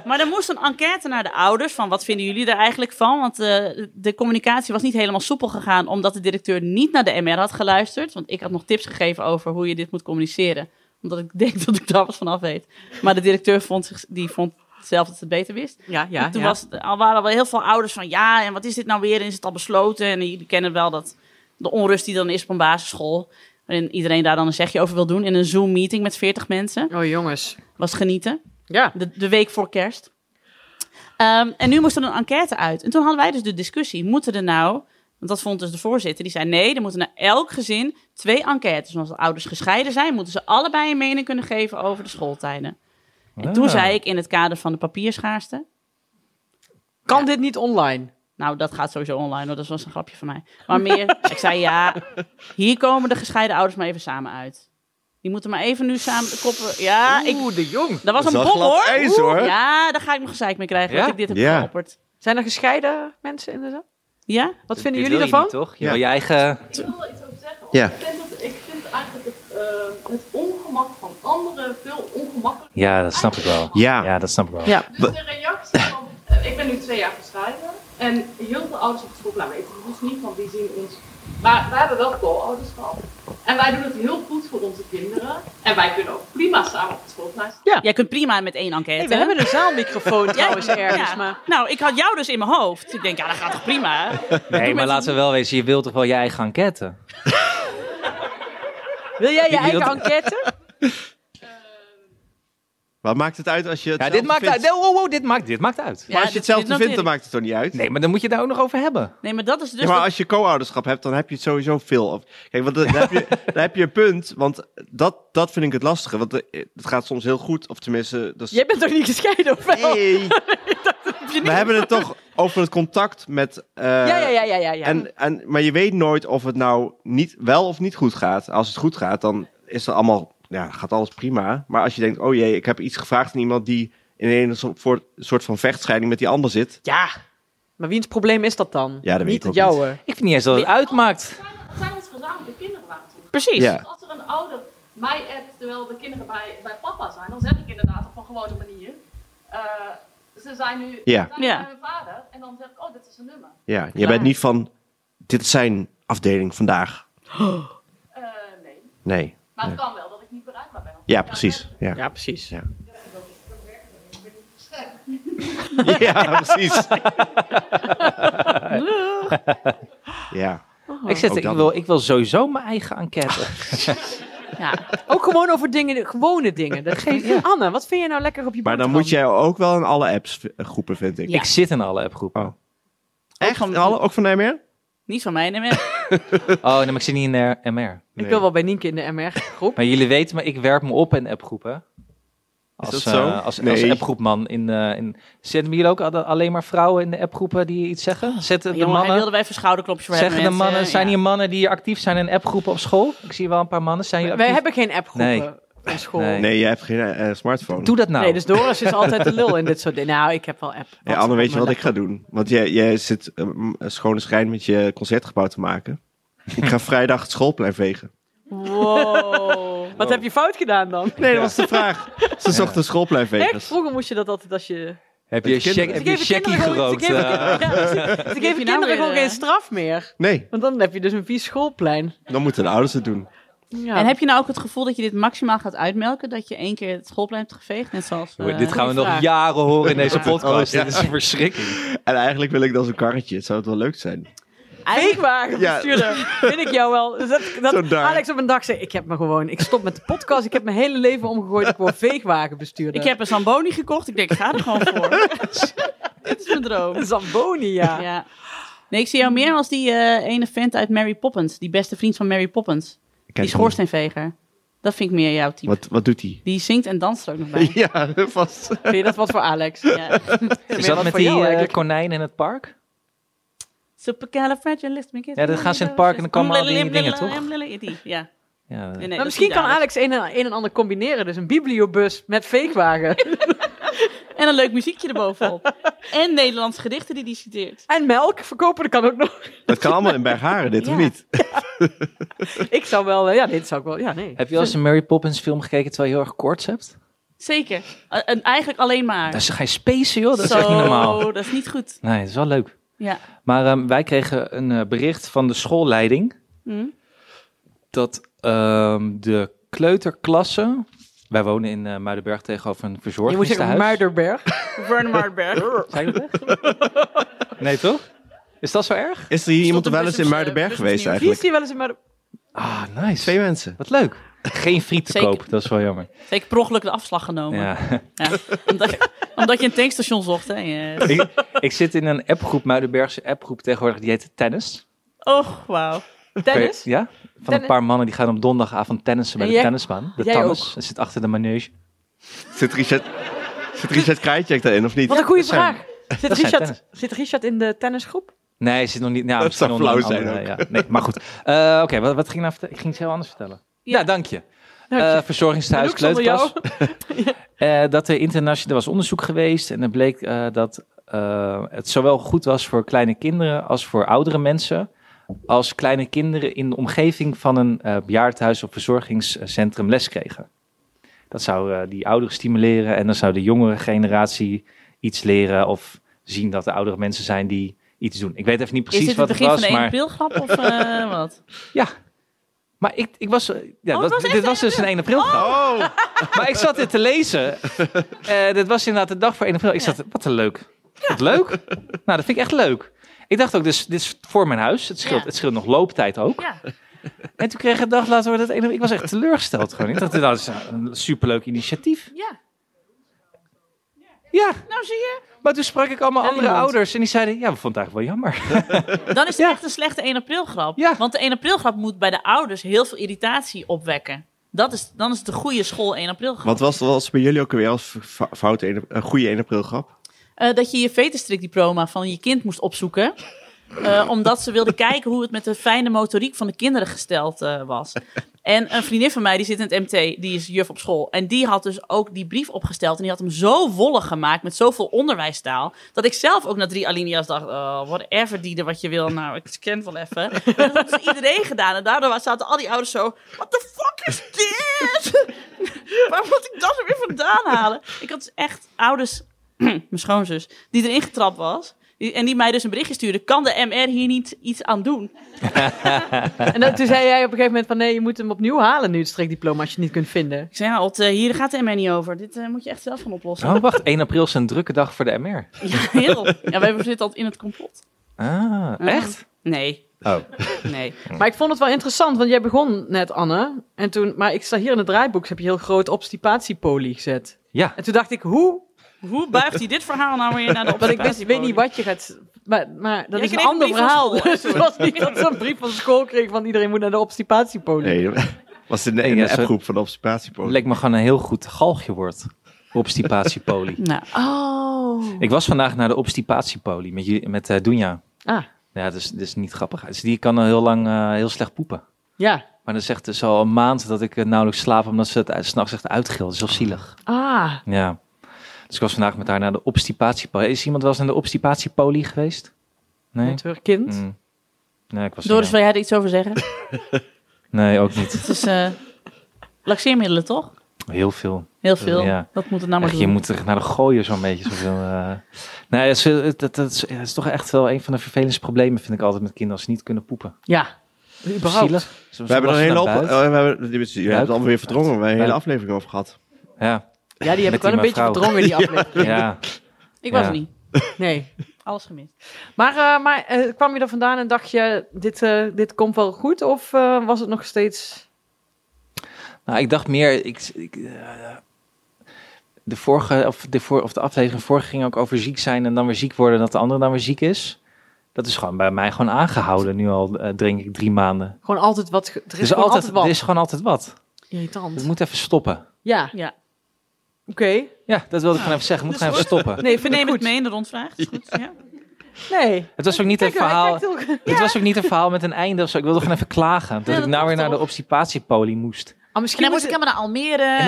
Speaker 3: Maar er moest een enquête naar de ouders van wat vinden jullie er eigenlijk van? Want eh, de communicatie was niet helemaal soepel gegaan omdat de directeur niet naar de MR had geluisterd. Want ik had nog tips gegeven over hoe je dit moet communiceren. Omdat ik denk dat ik daar wat vanaf weet. Maar de directeur vond, zich, die vond zelf dat ze het beter wist.
Speaker 5: Ja, ja,
Speaker 3: En toen
Speaker 5: ja.
Speaker 3: was, al waren er wel heel veel ouders van ja, en wat is dit nou weer? En is het al besloten? En jullie kennen wel dat de onrust die dan is op een basisschool. Waarin iedereen daar dan een zegje over wil doen. In een Zoom-meeting met 40 mensen.
Speaker 5: Oh jongens,
Speaker 3: Was genieten.
Speaker 5: ja.
Speaker 3: De, de week voor kerst. Ehm, en nu moest er een enquête uit. En toen hadden wij dus de discussie. Moeten er nou... Want dat vond dus de voorzitter. Die zei nee, er moeten naar elk gezin twee enquêtes. Want als de ouders gescheiden zijn... moeten ze allebei een mening kunnen geven over de schooltijden. En toen
Speaker 4: Ah.
Speaker 3: zei ik in het kader van de papierschaarste...
Speaker 5: Kan dit niet online?
Speaker 3: Nou, dat gaat sowieso online, hoor. dat was een grapje van mij. Maar meer, ik zei ja, hier komen de gescheiden ouders maar even samen uit. Die moeten maar even nu samen de koppen. Ja, ik,
Speaker 4: Oeh, de jong.
Speaker 3: dat was
Speaker 6: dat
Speaker 3: een
Speaker 6: is
Speaker 3: bom
Speaker 6: wel glad
Speaker 3: hoor.
Speaker 6: ijs,
Speaker 3: Oeh,
Speaker 6: hoor.
Speaker 3: Ja, daar ga ik nog gezeik mee krijgen,
Speaker 4: Ja?
Speaker 3: dat ik dit heb
Speaker 6: Ja.
Speaker 3: geopperd.
Speaker 5: Zijn er gescheiden mensen in de zaal?
Speaker 3: Ja?
Speaker 5: Wat vinden jullie
Speaker 4: Dit wil je
Speaker 5: ervan?
Speaker 4: niet, toch? Je
Speaker 6: Ja.
Speaker 4: wil je eigen...
Speaker 8: Ik wil iets over zeggen. want
Speaker 6: Ja.
Speaker 8: Ik vind, dat, ik vind eigenlijk het, eh, het ongemak van anderen veel ongemakkelijker.
Speaker 4: Ja, dat snap ik wel.
Speaker 6: Ja.
Speaker 4: Ja, dat snap ik wel.
Speaker 5: Ja.
Speaker 8: Dus de reactie van, eh, ik ben nu twee jaar gescheiden en heel veel ouders op school laten weten. Dus niet van die zien ons. Maar wij hebben wel co-ouders gehad. En wij doen het heel goed voor onze kinderen. En wij kunnen ook prima samen op school blijven.
Speaker 3: Jij kunt prima met één enquête.
Speaker 5: Hey, we hebben een zaalmicrofoon trouwens ergens,
Speaker 3: Ja.
Speaker 5: maar...
Speaker 3: Nou, ik had jou dus in mijn hoofd. Ik denk, ja, dat gaat toch prima.
Speaker 4: Nee, maar laten we wel wezen, je wilt toch wel je eigen enquête?
Speaker 5: Wil jij je
Speaker 4: Die
Speaker 5: eigen
Speaker 4: hield-
Speaker 5: enquête?
Speaker 6: Wat maakt het uit als je het
Speaker 4: Ja, dit
Speaker 6: zelf
Speaker 4: maakt
Speaker 6: vindt?
Speaker 4: uit. Wow, wow, dit maakt, dit maakt uit.
Speaker 3: Ja,
Speaker 6: Maar als je
Speaker 3: dit-
Speaker 6: hetzelfde
Speaker 3: dit
Speaker 6: vindt,
Speaker 3: noteer ik.
Speaker 6: dan maakt het toch niet uit?
Speaker 4: Nee, maar dan moet je het daar ook nog over hebben.
Speaker 3: Nee, maar dat is dus...
Speaker 6: ja, maar
Speaker 3: dat-
Speaker 6: als je co-ouderschap hebt, dan heb je het sowieso veel. af. Kijk, want dan, dan heb, je, dan heb je een punt, want dat, dat vind ik het lastige. Want eh, het gaat soms heel goed, of tenminste... Dat is-
Speaker 5: Jij bent toch niet gescheiden, of wel?
Speaker 6: Nee. We hebben het toch over het contact met... eh,
Speaker 5: Ja, ja, ja, ja, ja. ja.
Speaker 6: En, en, maar je weet nooit of het nou niet, wel of niet goed gaat. Als het goed gaat, dan is er allemaal, ja, gaat alles prima. Maar als je denkt, oh jee, ik heb iets gevraagd aan iemand die in een so- voor- soort van vechtscheiding met die ander zit.
Speaker 5: Ja. Maar wiens probleem is dat dan?
Speaker 6: Ja, dat weet
Speaker 5: niet
Speaker 6: ik ook
Speaker 5: het jouwe.
Speaker 4: Ik vind niet eens dat het uitmaakt.
Speaker 8: Het zijn onze gezamenlijke kinderen waar we toe.
Speaker 3: Precies.
Speaker 6: Ja.
Speaker 8: Als er een ouder mij appt terwijl de kinderen bij, bij papa zijn, dan zeg ik inderdaad op een gewone manier. eh, ze zijn nu ze
Speaker 6: Ja.
Speaker 8: zijn nu
Speaker 3: Ja.
Speaker 8: bij hun vader. En dan zeg ik, oh, dit is een nummer.
Speaker 6: Ja, je bent niet van, dit is zijn afdeling vandaag.
Speaker 8: Eh, nee.
Speaker 6: Nee.
Speaker 8: Maar het kan wel dat ik niet bereikbaar ben.
Speaker 6: Ja, precies. Ja,
Speaker 5: Ja, precies. Ja.
Speaker 6: ja precies. Ja.
Speaker 3: Oh.
Speaker 4: Ik, zet,
Speaker 6: Ook
Speaker 4: ik,
Speaker 6: dat
Speaker 4: wil,
Speaker 6: nog.
Speaker 4: ik wil sowieso mijn eigen enquête.
Speaker 6: Oh.
Speaker 3: Ja.
Speaker 5: Ook gewoon over dingen, gewone dingen. Dat geeft... Anne, wat vind je nou lekker op je
Speaker 6: Maar dan
Speaker 5: boterham?
Speaker 6: moet jij ook wel in alle apps eh, groepen, vind ik.
Speaker 3: Ja.
Speaker 4: Ik zit in alle appgroepen.
Speaker 6: Oh.
Speaker 4: Oh,
Speaker 6: Echt? In alle? Ook van de MR?
Speaker 3: Niet van mij, nee, maar...
Speaker 6: Oh.
Speaker 4: Oh, nee, maar ik zit niet in de MR.
Speaker 5: Ik wil wel bij Nienke in de MR-groep.
Speaker 4: Maar jullie weten, maar ik werp me op in appgroepen. Als,
Speaker 6: dat zo?
Speaker 4: eh, als, als
Speaker 6: Nee.
Speaker 4: appgroepman. In, eh, in... Zetten jullie ook alle- alleen maar vrouwen in de appgroepen die iets zeggen? Zetten de
Speaker 3: Oh. Jongen, hij
Speaker 4: mannen,
Speaker 3: wilde wij even schouderklopjes voor
Speaker 4: zeggen de
Speaker 3: hebben,
Speaker 4: mannen,
Speaker 3: mensen.
Speaker 4: zijn
Speaker 3: Ja.
Speaker 4: hier mannen die actief zijn in appgroepen op school? Ik zie wel een paar mannen. Zijn jullie
Speaker 5: Wij
Speaker 4: actief?
Speaker 5: hebben geen appgroepen
Speaker 4: Nee.
Speaker 5: op school.
Speaker 4: Nee.
Speaker 5: Nee.
Speaker 6: Nee, jij hebt geen eh, smartphone.
Speaker 4: Doe dat nou.
Speaker 5: dus Doris is altijd de lul in dit soort dingen. Nou, ik heb wel app.
Speaker 6: Ja, Anne, weet je wat ik ga doen? Want jij, jij zit eh, m- een schone schijn met je concertgebouw te maken. Ik ga vrijdag het schoolplein vegen.
Speaker 5: Wow. Wat heb je fout gedaan dan?
Speaker 6: Nee, dat was de vraag. Ze zochten een schoolplein
Speaker 5: Echt?
Speaker 6: vegen.
Speaker 5: Vroeger moest je dat altijd als je...
Speaker 4: heb je,
Speaker 6: Met kinderen.
Speaker 4: check, heb
Speaker 5: Ze
Speaker 4: je
Speaker 5: geven
Speaker 4: checkie
Speaker 5: kinderen gewoon-
Speaker 4: gerookt?
Speaker 5: Ze geven,
Speaker 4: eh?
Speaker 5: ja, precies. ze geven
Speaker 3: nou
Speaker 5: kinderen
Speaker 3: weer,
Speaker 5: gewoon
Speaker 3: eh?
Speaker 5: geen straf meer.
Speaker 6: Nee,
Speaker 5: Want dan heb je dus een vies schoolplein.
Speaker 6: dan moeten de ouders het doen.
Speaker 5: Ja.
Speaker 3: En heb je nou ook het gevoel dat je dit maximaal gaat uitmelken? Dat je één keer het schoolplein hebt geveegd? Net zoals... eh,
Speaker 4: dit gaan we nog
Speaker 5: vraag.
Speaker 4: jaren horen in deze
Speaker 5: Ja.
Speaker 4: podcast.
Speaker 6: Oh, ja.
Speaker 4: Dit is een verschrikking.
Speaker 6: En eigenlijk wil ik dan zo'n karretje. Het zou het wel leuk zijn.
Speaker 5: Weekwagenbestuurder. Vind ik jou wel. Dus dat, dat
Speaker 6: Zo daar.
Speaker 5: Alex op een dag zei: Ik heb me gewoon. Ik stop met de podcast. Ik heb mijn hele leven omgegooid. Ik word veegwagenbestuurder.
Speaker 3: Ik heb een Zamboni gekocht. Ik denk, ik ga er gewoon voor. Dit is mijn droom.
Speaker 5: een Zamboni, ja.
Speaker 3: Ja. Nee, ik zie jou meer als die eh, ene vent uit Mary Poppins. Die beste vriend van Mary Poppins. Die schoorsteenveger. Dat vind ik meer jouw type.
Speaker 6: hm, Wat, wat doet hij?
Speaker 3: Die zingt en danst er ook nog bij.
Speaker 6: Ja, vast.
Speaker 5: Vind je dat wat voor Alex?
Speaker 3: Ja.
Speaker 5: Meer
Speaker 4: Is
Speaker 5: wat
Speaker 4: dat met
Speaker 5: voor
Speaker 4: die
Speaker 5: jou
Speaker 4: eh,
Speaker 5: eigenlijk.
Speaker 4: konijn in het park?
Speaker 3: Supercalifragilisticexpialidocious.
Speaker 4: Ja, dan gaan ze in het park en dan komen al die dingen, toch?
Speaker 3: Die, Ja.
Speaker 4: Ja,
Speaker 3: Nee, nee,
Speaker 5: maar
Speaker 3: dat
Speaker 5: misschien
Speaker 3: is
Speaker 5: kan
Speaker 3: niet Alex.
Speaker 5: Alex een, en- een en ander combineren. Dus een bibliobus met fakewagen.
Speaker 3: En een leuk muziekje erbovenop. en Nederlandse gedichten die die citeert.
Speaker 5: en melk verkopen, dat kan ook nog.
Speaker 6: Dat kan allemaal in Bergharen, dit
Speaker 3: Ja.
Speaker 6: of niet?
Speaker 5: Ik zou wel, eh, ja, dit zou ik wel, ja, nee.
Speaker 4: Heb je al eens een Mary Poppins film gekeken terwijl je heel erg koorts hebt?
Speaker 3: Zeker. Eh, En eigenlijk alleen maar.
Speaker 4: Daar ga je spacen, joh. Dat is
Speaker 3: Zo,
Speaker 4: echt niet normaal.
Speaker 3: dat is niet goed.
Speaker 4: Nee, dat is wel leuk.
Speaker 3: Ja.
Speaker 4: Maar ehm, wij kregen een eh, bericht van de schoolleiding
Speaker 3: Hm.
Speaker 4: dat ehm, de kleuterklassen... Wij wonen in eh, Muidenberg tegenover een
Speaker 5: Je moet zeggen
Speaker 4: verzorgingstehuis.
Speaker 5: Muiderberg.
Speaker 3: Vern Martberg.
Speaker 4: Zijn we weg? Nee, toch? Is dat zo erg?
Speaker 6: Is er hier iemand
Speaker 3: een
Speaker 6: wel eens
Speaker 3: bus op,
Speaker 6: in
Speaker 3: eh,
Speaker 6: Muidenberg
Speaker 3: bus
Speaker 6: geweest
Speaker 3: opnieuw.
Speaker 5: Wie is
Speaker 6: eigenlijk?
Speaker 5: die wel eens in Muiderberg?
Speaker 4: Ah,
Speaker 6: Twee
Speaker 4: nice.
Speaker 6: mensen.
Speaker 4: Wat leuk. Geen friet te
Speaker 3: Zeker.
Speaker 4: koop, dat is wel jammer.
Speaker 3: Zeker per ongeluk de afslag genomen.
Speaker 4: Ja.
Speaker 3: Ja. Omdat, omdat je een tankstation zocht. Hè. Ja.
Speaker 4: ik, ik zit in een appgroep, Muidenbergse appgroep tegenwoordig, die heet Tennis.
Speaker 3: Och, wauw.
Speaker 5: Tennis?
Speaker 4: Ja, van een
Speaker 5: Tennis?
Speaker 4: paar mannen die gaan op donderdagavond tennissen bij
Speaker 5: En
Speaker 4: de
Speaker 5: jij-
Speaker 4: tennisbaan. De
Speaker 5: jij
Speaker 4: tennis, dat zit achter de manege.
Speaker 6: Zit Richard, zit Richard Krajicek daarin of niet?
Speaker 5: Wat een goede
Speaker 4: dat zijn-
Speaker 5: vraag. Zit
Speaker 4: dat zijn
Speaker 5: Richard, zit Richard in de tennisgroep?
Speaker 4: Nee, zit nog niet. Nou,
Speaker 6: Dat
Speaker 4: misschien
Speaker 6: zou
Speaker 4: onder een
Speaker 6: flauw zijn
Speaker 4: andere, ja. nee, maar goed. Eh, Oké, wat, wat ging ik nou vertellen? Ik ging iets heel anders vertellen. Ja,
Speaker 3: Ja.
Speaker 4: dank je.
Speaker 5: Dank
Speaker 4: Eh,
Speaker 5: je.
Speaker 4: verzorgingstehuis,
Speaker 5: Anouk, zonder
Speaker 4: kleuterklas. Eh, dat er internationaal er was onderzoek geweest en er bleek eh, dat eh, het zowel goed was voor kleine kinderen als voor oudere mensen. Als kleine kinderen in de omgeving van een eh bejaardhuis of verzorgingscentrum les kregen. Dat zou eh, die ouderen stimuleren en dan zou de jongere generatie iets leren of zien dat er oudere mensen zijn die iets doen. Ik weet even niet
Speaker 3: is
Speaker 4: precies
Speaker 3: dit het
Speaker 4: wat het
Speaker 3: begin van
Speaker 4: was,
Speaker 3: de ene
Speaker 4: maar
Speaker 3: pilgrap of eh, wat?
Speaker 4: ja. Maar ik, ik was, eh, ja,
Speaker 3: Oh, het
Speaker 4: dat-
Speaker 3: was echt
Speaker 4: dit
Speaker 3: een
Speaker 4: was dus een 1 april grap.
Speaker 6: Oh,
Speaker 4: Maar ik zat dit te lezen. Eh dit was inderdaad de dag voor 1 april. Ik zat, wat een leuk. Wat leuk. Nou, dat vind ik echt leuk. Ik dacht ook, dus, dit is voor mijn huis. Het scheelt,
Speaker 3: Ja.
Speaker 4: het scheelt nog looptijd ook.
Speaker 3: Ja.
Speaker 4: En toen kreeg ik een dag later dat 1 april. Ik was echt teleurgesteld gewoon. Ik dacht, dat is een superleuk initiatief.
Speaker 3: ja.
Speaker 4: Ja,
Speaker 3: Nou zie je.
Speaker 4: maar toen sprak ik allemaal
Speaker 5: En
Speaker 4: andere
Speaker 5: niemand.
Speaker 4: ouders. En die zeiden, ja, we vonden het eigenlijk wel jammer.
Speaker 3: Dan is het
Speaker 4: Ja.
Speaker 3: echt een slechte 1 april grap.
Speaker 4: Ja.
Speaker 3: Want de 1 april grap moet bij de ouders heel veel irritatie opwekken. Dat is, dan is het de goede school 1 april grap.
Speaker 6: Wat was, was bij jullie ook weer als f- fout een, een goede 1 april grap?
Speaker 3: Eh, dat je je veterstrikdiploma van je kind moest opzoeken. eh, omdat ze wilde kijken hoe het met de fijne motoriek van de kinderen gesteld eh, was. En een vriendin van mij, die zit in het MT, die is juf op school. En die had dus ook die brief opgesteld. En die had hem zo wollig gemaakt met zoveel onderwijstaal. Dat ik zelf ook na drie alinea's dacht: oh, whatever, Dieder, wat je wil. Nou, ik scan wel even. Maar dat had dus iedereen gedaan. En daardoor zaten al die ouders zo: what the fuck is dit? Waar moet ik dat er weer vandaan halen? Ik had dus echt ouders mijn schoonzus, die erin getrapt was. Die- En die mij dus een berichtje stuurde. Kan de MR hier niet iets aan doen?
Speaker 5: En dan, toen zei jij op een gegeven moment van nee, je moet hem opnieuw halen nu het strikdiploma als je het niet kunt vinden.
Speaker 3: Ik zei, ja, Ot, eh, hier gaat de MR niet over. Dit eh, moet je echt zelf gaan oplossen.
Speaker 4: Oh, wacht. 1 april is een drukke dag voor de MR.
Speaker 3: Ja, heel. Ja, wij zitten al in het complot.
Speaker 4: Ah,
Speaker 5: Hm.
Speaker 4: echt?
Speaker 3: Nee.
Speaker 4: Oh.
Speaker 3: Nee.
Speaker 5: Maar ik vond het wel interessant, want jij begon net Anne. En toen, maar ik sta hier in het draaiboek, dus heb je heel groot obstipatiepolie gezet.
Speaker 4: Ja.
Speaker 5: En toen dacht ik, hoe?
Speaker 3: Hoe buigt hij dit verhaal nou weer naar de
Speaker 5: Want ik wist, weet niet wat je gaat... Maar, maar
Speaker 3: Jij
Speaker 5: dat is een
Speaker 3: kreeg een
Speaker 5: ander
Speaker 3: brief van
Speaker 5: verhaal.
Speaker 3: school, hè,
Speaker 5: Dus het was niet dat ze een brief van school kreeg van iedereen moet naar de obstipatiepolie.
Speaker 6: Nee, was in de, in
Speaker 4: Ja,
Speaker 6: de
Speaker 4: zo-
Speaker 6: appgroep van de observatiepoort.
Speaker 4: Leek me gewoon een heel goed galgje woord. Obstipatiepolie.
Speaker 3: Nou, oh.
Speaker 4: Ik was vandaag naar de obstipatiepolie met, jullie- met eh, Dunja.
Speaker 5: Ah,
Speaker 4: Ja, dat is, dat is niet grappig. Dus die kan al heel lang eh, heel slecht poepen.
Speaker 5: ja.
Speaker 4: Maar dan zegt dus al een maand dat ik eh, nauwelijks slaap omdat ze het uit- s'nachts echt uitgilt. Dat is heel zielig.
Speaker 5: Ah,
Speaker 4: Ja. Dus ik was vandaag met haar naar de obstipatiepolie. Is iemand wel eens naar de obstipatiepolie geweest? Nee?
Speaker 5: met haar kind.
Speaker 4: Mm. Nee, ik was er
Speaker 3: Doris,
Speaker 4: niet.
Speaker 3: wil jij er iets over zeggen?
Speaker 4: Nee, ook niet.
Speaker 3: Het is eh, laxeermiddelen, toch?
Speaker 4: Heel veel.
Speaker 3: Heel veel.
Speaker 4: Ja.
Speaker 3: Dat moet het nou maar
Speaker 4: Echt,
Speaker 3: doen.
Speaker 4: je moet er naar de gooien zo'n beetje. Zoveel, eh. Nee, dat is, dat, dat, is, dat is toch echt wel een van de vervelendste problemen vind ik altijd met kinderen als ze niet kunnen poepen.
Speaker 5: Ja. Überhaupt.
Speaker 4: Zielig. Soms
Speaker 6: We hebben er
Speaker 4: was
Speaker 6: een
Speaker 4: ze
Speaker 6: hele
Speaker 4: naar
Speaker 6: op. eh,
Speaker 4: buiten.
Speaker 6: we hebben, je hebt het allemaal weer verdrongen. We hebben een hele
Speaker 4: Buik.
Speaker 6: aflevering over gehad. eh,
Speaker 4: Ja,
Speaker 5: Ja, die heb
Speaker 4: Met
Speaker 5: ik wel een
Speaker 4: die
Speaker 5: beetje
Speaker 4: mevrouw.
Speaker 5: verdrongen, die aflevering.
Speaker 4: ja.
Speaker 3: Ik was
Speaker 4: Ja.
Speaker 3: er niet.
Speaker 5: Nee.
Speaker 3: Alles gemist.
Speaker 5: Maar, eh, maar eh, kwam je er vandaan en dacht je, dit, eh, dit komt wel goed? Of eh, was het nog steeds...
Speaker 4: Nou, ik dacht meer. Ik, ik, eh, de vorige of de, voor, of de aflevering vorige ging ook over ziek zijn en dan weer ziek worden, dat de ander dan weer ziek is. Dat is gewoon bij mij gewoon aangehouden nu al, eh, drink ik drie maanden.
Speaker 5: Gewoon altijd wat. ge- Er is,
Speaker 4: Er is,
Speaker 5: gewoon
Speaker 4: altijd,
Speaker 5: altijd, wat.
Speaker 4: er is gewoon altijd wat.
Speaker 5: Irritant.
Speaker 4: Het moet even stoppen.
Speaker 5: Ja.
Speaker 3: Ja.
Speaker 5: Oké.
Speaker 4: Ja, dat wilde ik gewoon even zeggen. Het moet gewoon even stoppen.
Speaker 5: Nee, vind
Speaker 3: Neem
Speaker 5: ik
Speaker 3: het
Speaker 5: goed.
Speaker 3: mee in de rondvraag. Is goed, ja. eh,
Speaker 5: Nee.
Speaker 4: Het was ook niet een
Speaker 5: Kijk, hij
Speaker 4: verhaal...
Speaker 5: kijkt heel-
Speaker 4: Het was ook niet een verhaal met een einde of zo. Ik wilde gewoon even klagen. Dat
Speaker 3: Ja,
Speaker 4: ik
Speaker 3: dat
Speaker 4: nou weer
Speaker 3: klopt
Speaker 4: naar de
Speaker 3: toch?
Speaker 4: obstipatiepolie moest.
Speaker 5: Ah,
Speaker 3: En
Speaker 5: misschien
Speaker 3: dan
Speaker 5: moet
Speaker 3: moest ik
Speaker 5: het...
Speaker 3: helemaal naar Almere. En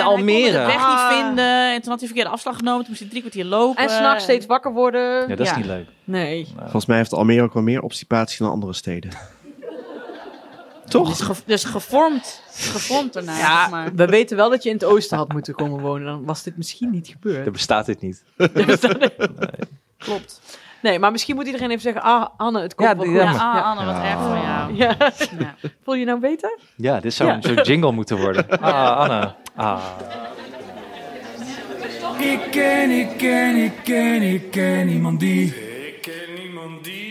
Speaker 3: Hij
Speaker 4: Almere.
Speaker 3: kon de weg
Speaker 5: Ah.
Speaker 3: niet vinden. En toen had hij verkeerde afslag genomen. Toen moest hij drie kwartier lopen.
Speaker 5: En s'nachts steeds wakker worden.
Speaker 4: Ja, dat is
Speaker 3: Ja.
Speaker 4: niet leuk.
Speaker 5: Nee.
Speaker 6: Volgens mij heeft Almere ook wel meer obstipatie dan andere steden. Toch?
Speaker 3: Dus, ge- dus gevormd. Gevormd daarna.
Speaker 5: Ja,
Speaker 3: zeg maar.
Speaker 5: Ah, we weten wel dat je in het oosten had moeten komen wonen. Dan was dit misschien niet gebeurd.
Speaker 4: Er bestaat dit niet.
Speaker 3: Klopt.
Speaker 5: Nee, maar misschien moet iedereen even zeggen... Ah, Anne, het komt
Speaker 4: Ja,
Speaker 5: wel
Speaker 4: die-
Speaker 5: goed.
Speaker 3: Ja,
Speaker 4: maar-
Speaker 3: ah,
Speaker 5: Ja.
Speaker 3: Anne, wat
Speaker 6: Ja.
Speaker 3: erg van jou.
Speaker 5: Ja.
Speaker 3: Ja.
Speaker 5: Voel je nou beter?
Speaker 4: Ja, dit zou
Speaker 5: Ja.
Speaker 4: een soort jingle moeten worden. Ah, Anne. Ah.
Speaker 7: Ik ken, ik ken, ik ken, ik ken niemand die. Ik ken niemand die.